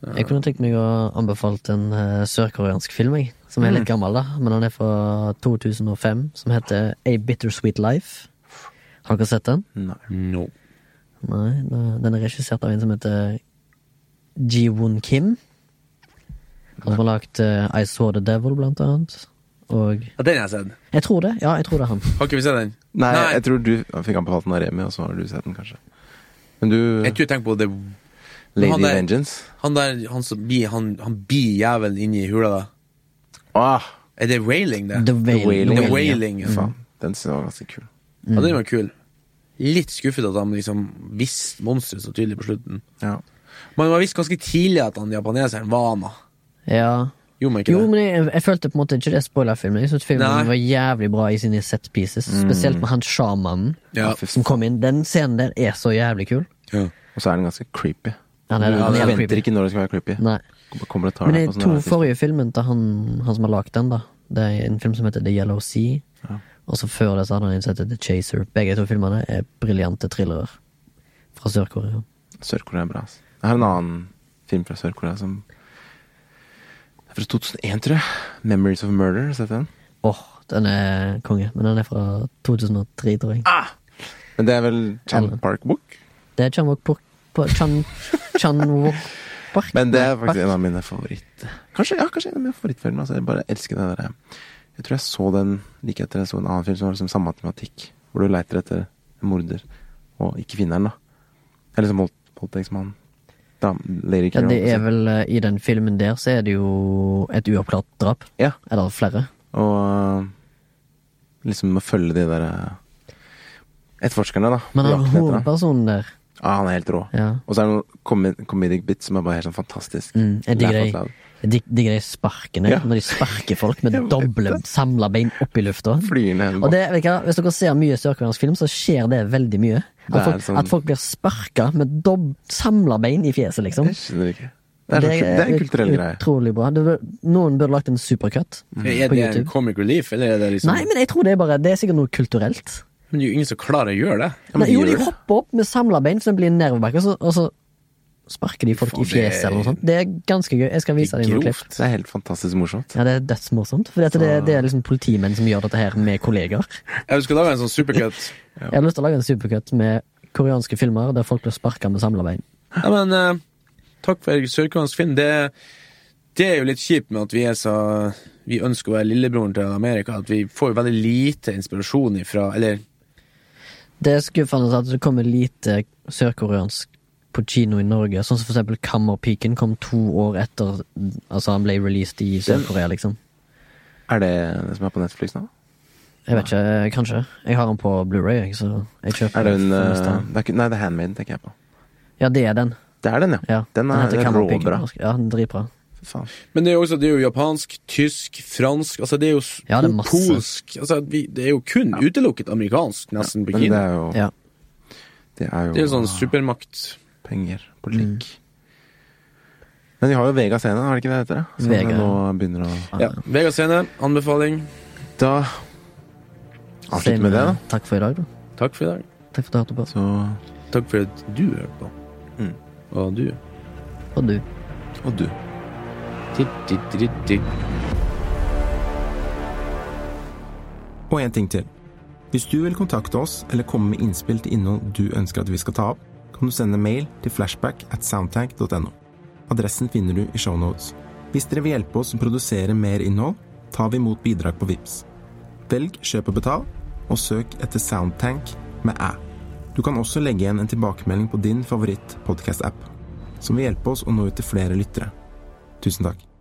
Speaker 3: Jeg kunne tenkt meg å anbefalt en eh, sørkoreansk film, jeg. Som er litt gammel, da. Men den er fra 2005, som heter A Bittersweet Life. Har dere sett den?
Speaker 2: Mm.
Speaker 1: Nei.
Speaker 2: No.
Speaker 3: Nei, da- den er regissert av en som heter Ji-Woon Kim. Han som har lagt eh, I Saw The Devil, blant annet. Og
Speaker 2: Ja, den har jeg sett.
Speaker 3: Jeg tror det. Ja, jeg tror det er han.
Speaker 2: Har ikke vi sett den?
Speaker 1: Nei, jeg tror du fikk anbefalt den av Remi, og så har du sett den, kanskje. Men du
Speaker 2: jeg tror jeg tenker på det
Speaker 1: Lady
Speaker 2: han der-
Speaker 1: Vengeance.
Speaker 2: Han der, han som blir Han, han blir jævelen inni hula. da
Speaker 1: Ah,
Speaker 2: Er det railing, det?
Speaker 3: The Wailing.
Speaker 1: Wailing.
Speaker 2: The
Speaker 3: ja.
Speaker 2: Wailing. ja.
Speaker 1: faen. Den synes jeg var ganske kul.
Speaker 2: Ja,
Speaker 3: Mm.
Speaker 2: den var kul. Litt skuffet at han liksom visste monsteret så tydelig på slutten.
Speaker 1: Ja.
Speaker 2: Men man visste ganske tidlig at han japaneseren var han. da.
Speaker 3: Ja.
Speaker 2: Gjorde man ikke
Speaker 3: Jo,
Speaker 2: det?
Speaker 3: men jeg, jeg følte på en måte ikke det spoilerfilmen. Jeg synes filmen
Speaker 2: Nei.
Speaker 3: var jævlig bra i sine set pieces. Spesielt med han sjamanen
Speaker 2: Ja.
Speaker 1: fy
Speaker 3: som kom inn. Den scenen der er så jævlig kul.
Speaker 2: ja.
Speaker 1: Og så er den ganske creepy.
Speaker 3: Ja, den er-
Speaker 1: du
Speaker 3: den er
Speaker 1: du
Speaker 3: jævlig
Speaker 1: venter
Speaker 3: creepy.
Speaker 1: ikke når det skal være creepy.
Speaker 3: Nei.
Speaker 1: Kommer og tar
Speaker 3: Men
Speaker 1: deg
Speaker 3: de
Speaker 1: på sånn
Speaker 3: to
Speaker 1: her-
Speaker 3: forrige filmene til han, han som har lagd den, da Det er en film som heter The Yellow Sea. Og så før det så hadde han en som heter The Chaser. Begge to filmene er briljante thrillere fra Sør-Korea.
Speaker 1: Sør-Korea er bra. ass. Jeg har en annen film fra Sør-Korea som Det er fra 2001, tror jeg. 'Memories of Murder'. har du Sett den?
Speaker 3: Åh, den er konge, men den er fra 2003, tror jeg.
Speaker 1: Men det er vel Chan
Speaker 3: Eller-
Speaker 1: Park Book?
Speaker 3: Det er Chan Wok Park på- Chan, Chan Wok Park.
Speaker 1: Men det er
Speaker 3: Nei,
Speaker 1: faktisk en
Speaker 3: Park.
Speaker 1: av mine favoritt... Kanskje, ja, kanskje en av mine favorittfilmer. Altså, jeg bare elsker den der Jeg tror jeg så den like etter jeg så en annen film som var liksom samme tematikk. Hvor du leiter etter en morder, og ikke finner den, da. Eller som voldt- voldtektsmann. Dam- Lady
Speaker 3: ja,
Speaker 1: Carol.
Speaker 3: Det er vel eh, I den filmen der så er det jo et uoppklart drap.
Speaker 1: Ja.
Speaker 3: Eller flere.
Speaker 1: Og øh, liksom å følge de der øh, etterforskerne, da.
Speaker 3: Men
Speaker 1: på
Speaker 3: han
Speaker 1: jakten etter ham.
Speaker 3: hovedpersonen der
Speaker 1: Ja, han er helt rå.
Speaker 3: Ja.
Speaker 1: Og så er det noen comi- comedic bits som er bare helt sånn fantastisk.
Speaker 3: Mm, jeg digger
Speaker 1: Laugh out
Speaker 3: de-
Speaker 1: loud.
Speaker 3: Jeg dig- digger de sparkene,
Speaker 1: Ja.
Speaker 3: når de sparker folk med
Speaker 1: Jeg vet
Speaker 3: doble samla bein opp i lufta.
Speaker 1: Flyr ned
Speaker 3: Og det, vet du hva, Hvis dere ser mye sørkoreansk film, så skjer det veldig mye.
Speaker 1: Det er
Speaker 3: At folk,
Speaker 1: sånn-
Speaker 3: at folk blir sparka med dob- samla bein i fjeset, liksom.
Speaker 1: Jeg skjønner ikke. Sånn. Det er, så kul- det er en kulturell greie.
Speaker 3: Utrolig bra. Det bør- noen burde lagt en supercut
Speaker 2: Er
Speaker 3: på
Speaker 2: det en
Speaker 3: YouTube.
Speaker 2: comic relief, eller er det liksom
Speaker 3: Nei, men jeg tror det er bare Det er sikkert noe kulturelt.
Speaker 2: Men det er jo ingen som klarer å gjøre det.
Speaker 1: men
Speaker 3: Nei,
Speaker 1: de
Speaker 3: jo,
Speaker 1: gjør
Speaker 3: de
Speaker 1: det.
Speaker 3: hopper opp med samla bein, så det blir nedoverbakke, og, så- og så sparker de folk i
Speaker 2: Faen, det er-
Speaker 3: fjeset eller noe sånt. Det er ganske gøy. Jeg skal vise deg noen klipp.
Speaker 1: Grovt. Det er helt fantastisk morsomt.
Speaker 3: Ja, det er dødsmorsomt. For det, det er liksom politimenn som gjør dette her med kolleger.
Speaker 2: Jeg skal lage en sånn supercut.
Speaker 3: Jeg har lyst til å lage en supercut med koreanske filmer der folk blir sparka med samla bein.
Speaker 2: Ja, men eh, takk for sørkoreansk film. Det, det er jo litt kjipt med at vi er så Vi ønsker å være lillebroren til Amerika, at vi får veldig lite inspirasjon ifra Eller
Speaker 3: Det er skuffende at det kommer lite sørkoreansk på kino i Norge. Sånn som for eksempel Kammerpiken kom to år etter Altså han ble released i Sør-Korea, liksom.
Speaker 1: Er det det som er på Netflix nå?
Speaker 3: Jeg vet ikke, eh, kanskje. Jeg har den på Blu-ray, jeg, så jeg kjøper
Speaker 1: Er det en
Speaker 3: den for
Speaker 1: eh,
Speaker 3: neste år.
Speaker 1: det er, ikke- Nei, det er Handmade, tenker jeg på.
Speaker 3: Ja, det er den.
Speaker 1: Det er den, ja.
Speaker 3: Ja.
Speaker 1: Den er
Speaker 3: heter Kammerpiken.
Speaker 1: råbra.
Speaker 3: Ja, den er dritbra.
Speaker 1: Fy faen.
Speaker 2: Men det er jo også det er jo japansk, tysk, fransk Altså det er jo s-
Speaker 3: Ja, det er masse.
Speaker 2: polsk altså, vi, Det er jo kun utelukket amerikansk, nesten, på
Speaker 1: Men det
Speaker 2: Kina.
Speaker 1: er jo
Speaker 3: Ja.
Speaker 1: Det er jo,
Speaker 2: Det er jo sånn supermakt.
Speaker 1: penger, politikk. Men de har jo Vega Scene, har de ikke det heter? det? Som
Speaker 3: Vega.
Speaker 1: nå begynner å
Speaker 2: Ja. Vegard Sene, anbefaling.
Speaker 1: Da avslutter vi med det, da.
Speaker 3: Takk for i dag, da.
Speaker 2: Takk for i dag.
Speaker 3: Takk for at du hørte på.
Speaker 1: Så
Speaker 2: Takk for at du hørte på.
Speaker 1: Mm.
Speaker 2: Og du.
Speaker 3: Og du.
Speaker 1: Og du.
Speaker 2: Titt, titt, titt, titt.
Speaker 1: Og en ting til. Hvis du vil kontakte oss eller komme med innspill til innhold du ønsker at vi skal ta opp, kan du sende mail til flashback at soundtank.no. Adressen finner du i shownotes. Hvis dere vil hjelpe oss å produsere mer innhold, tar vi imot bidrag på VIPS. Velg kjøp og betal, og søk etter Soundtank med æ. Du kan også legge igjen en tilbakemelding på din favoritt podcast-app, som vil hjelpe oss å nå ut til flere lyttere. Tusen takk.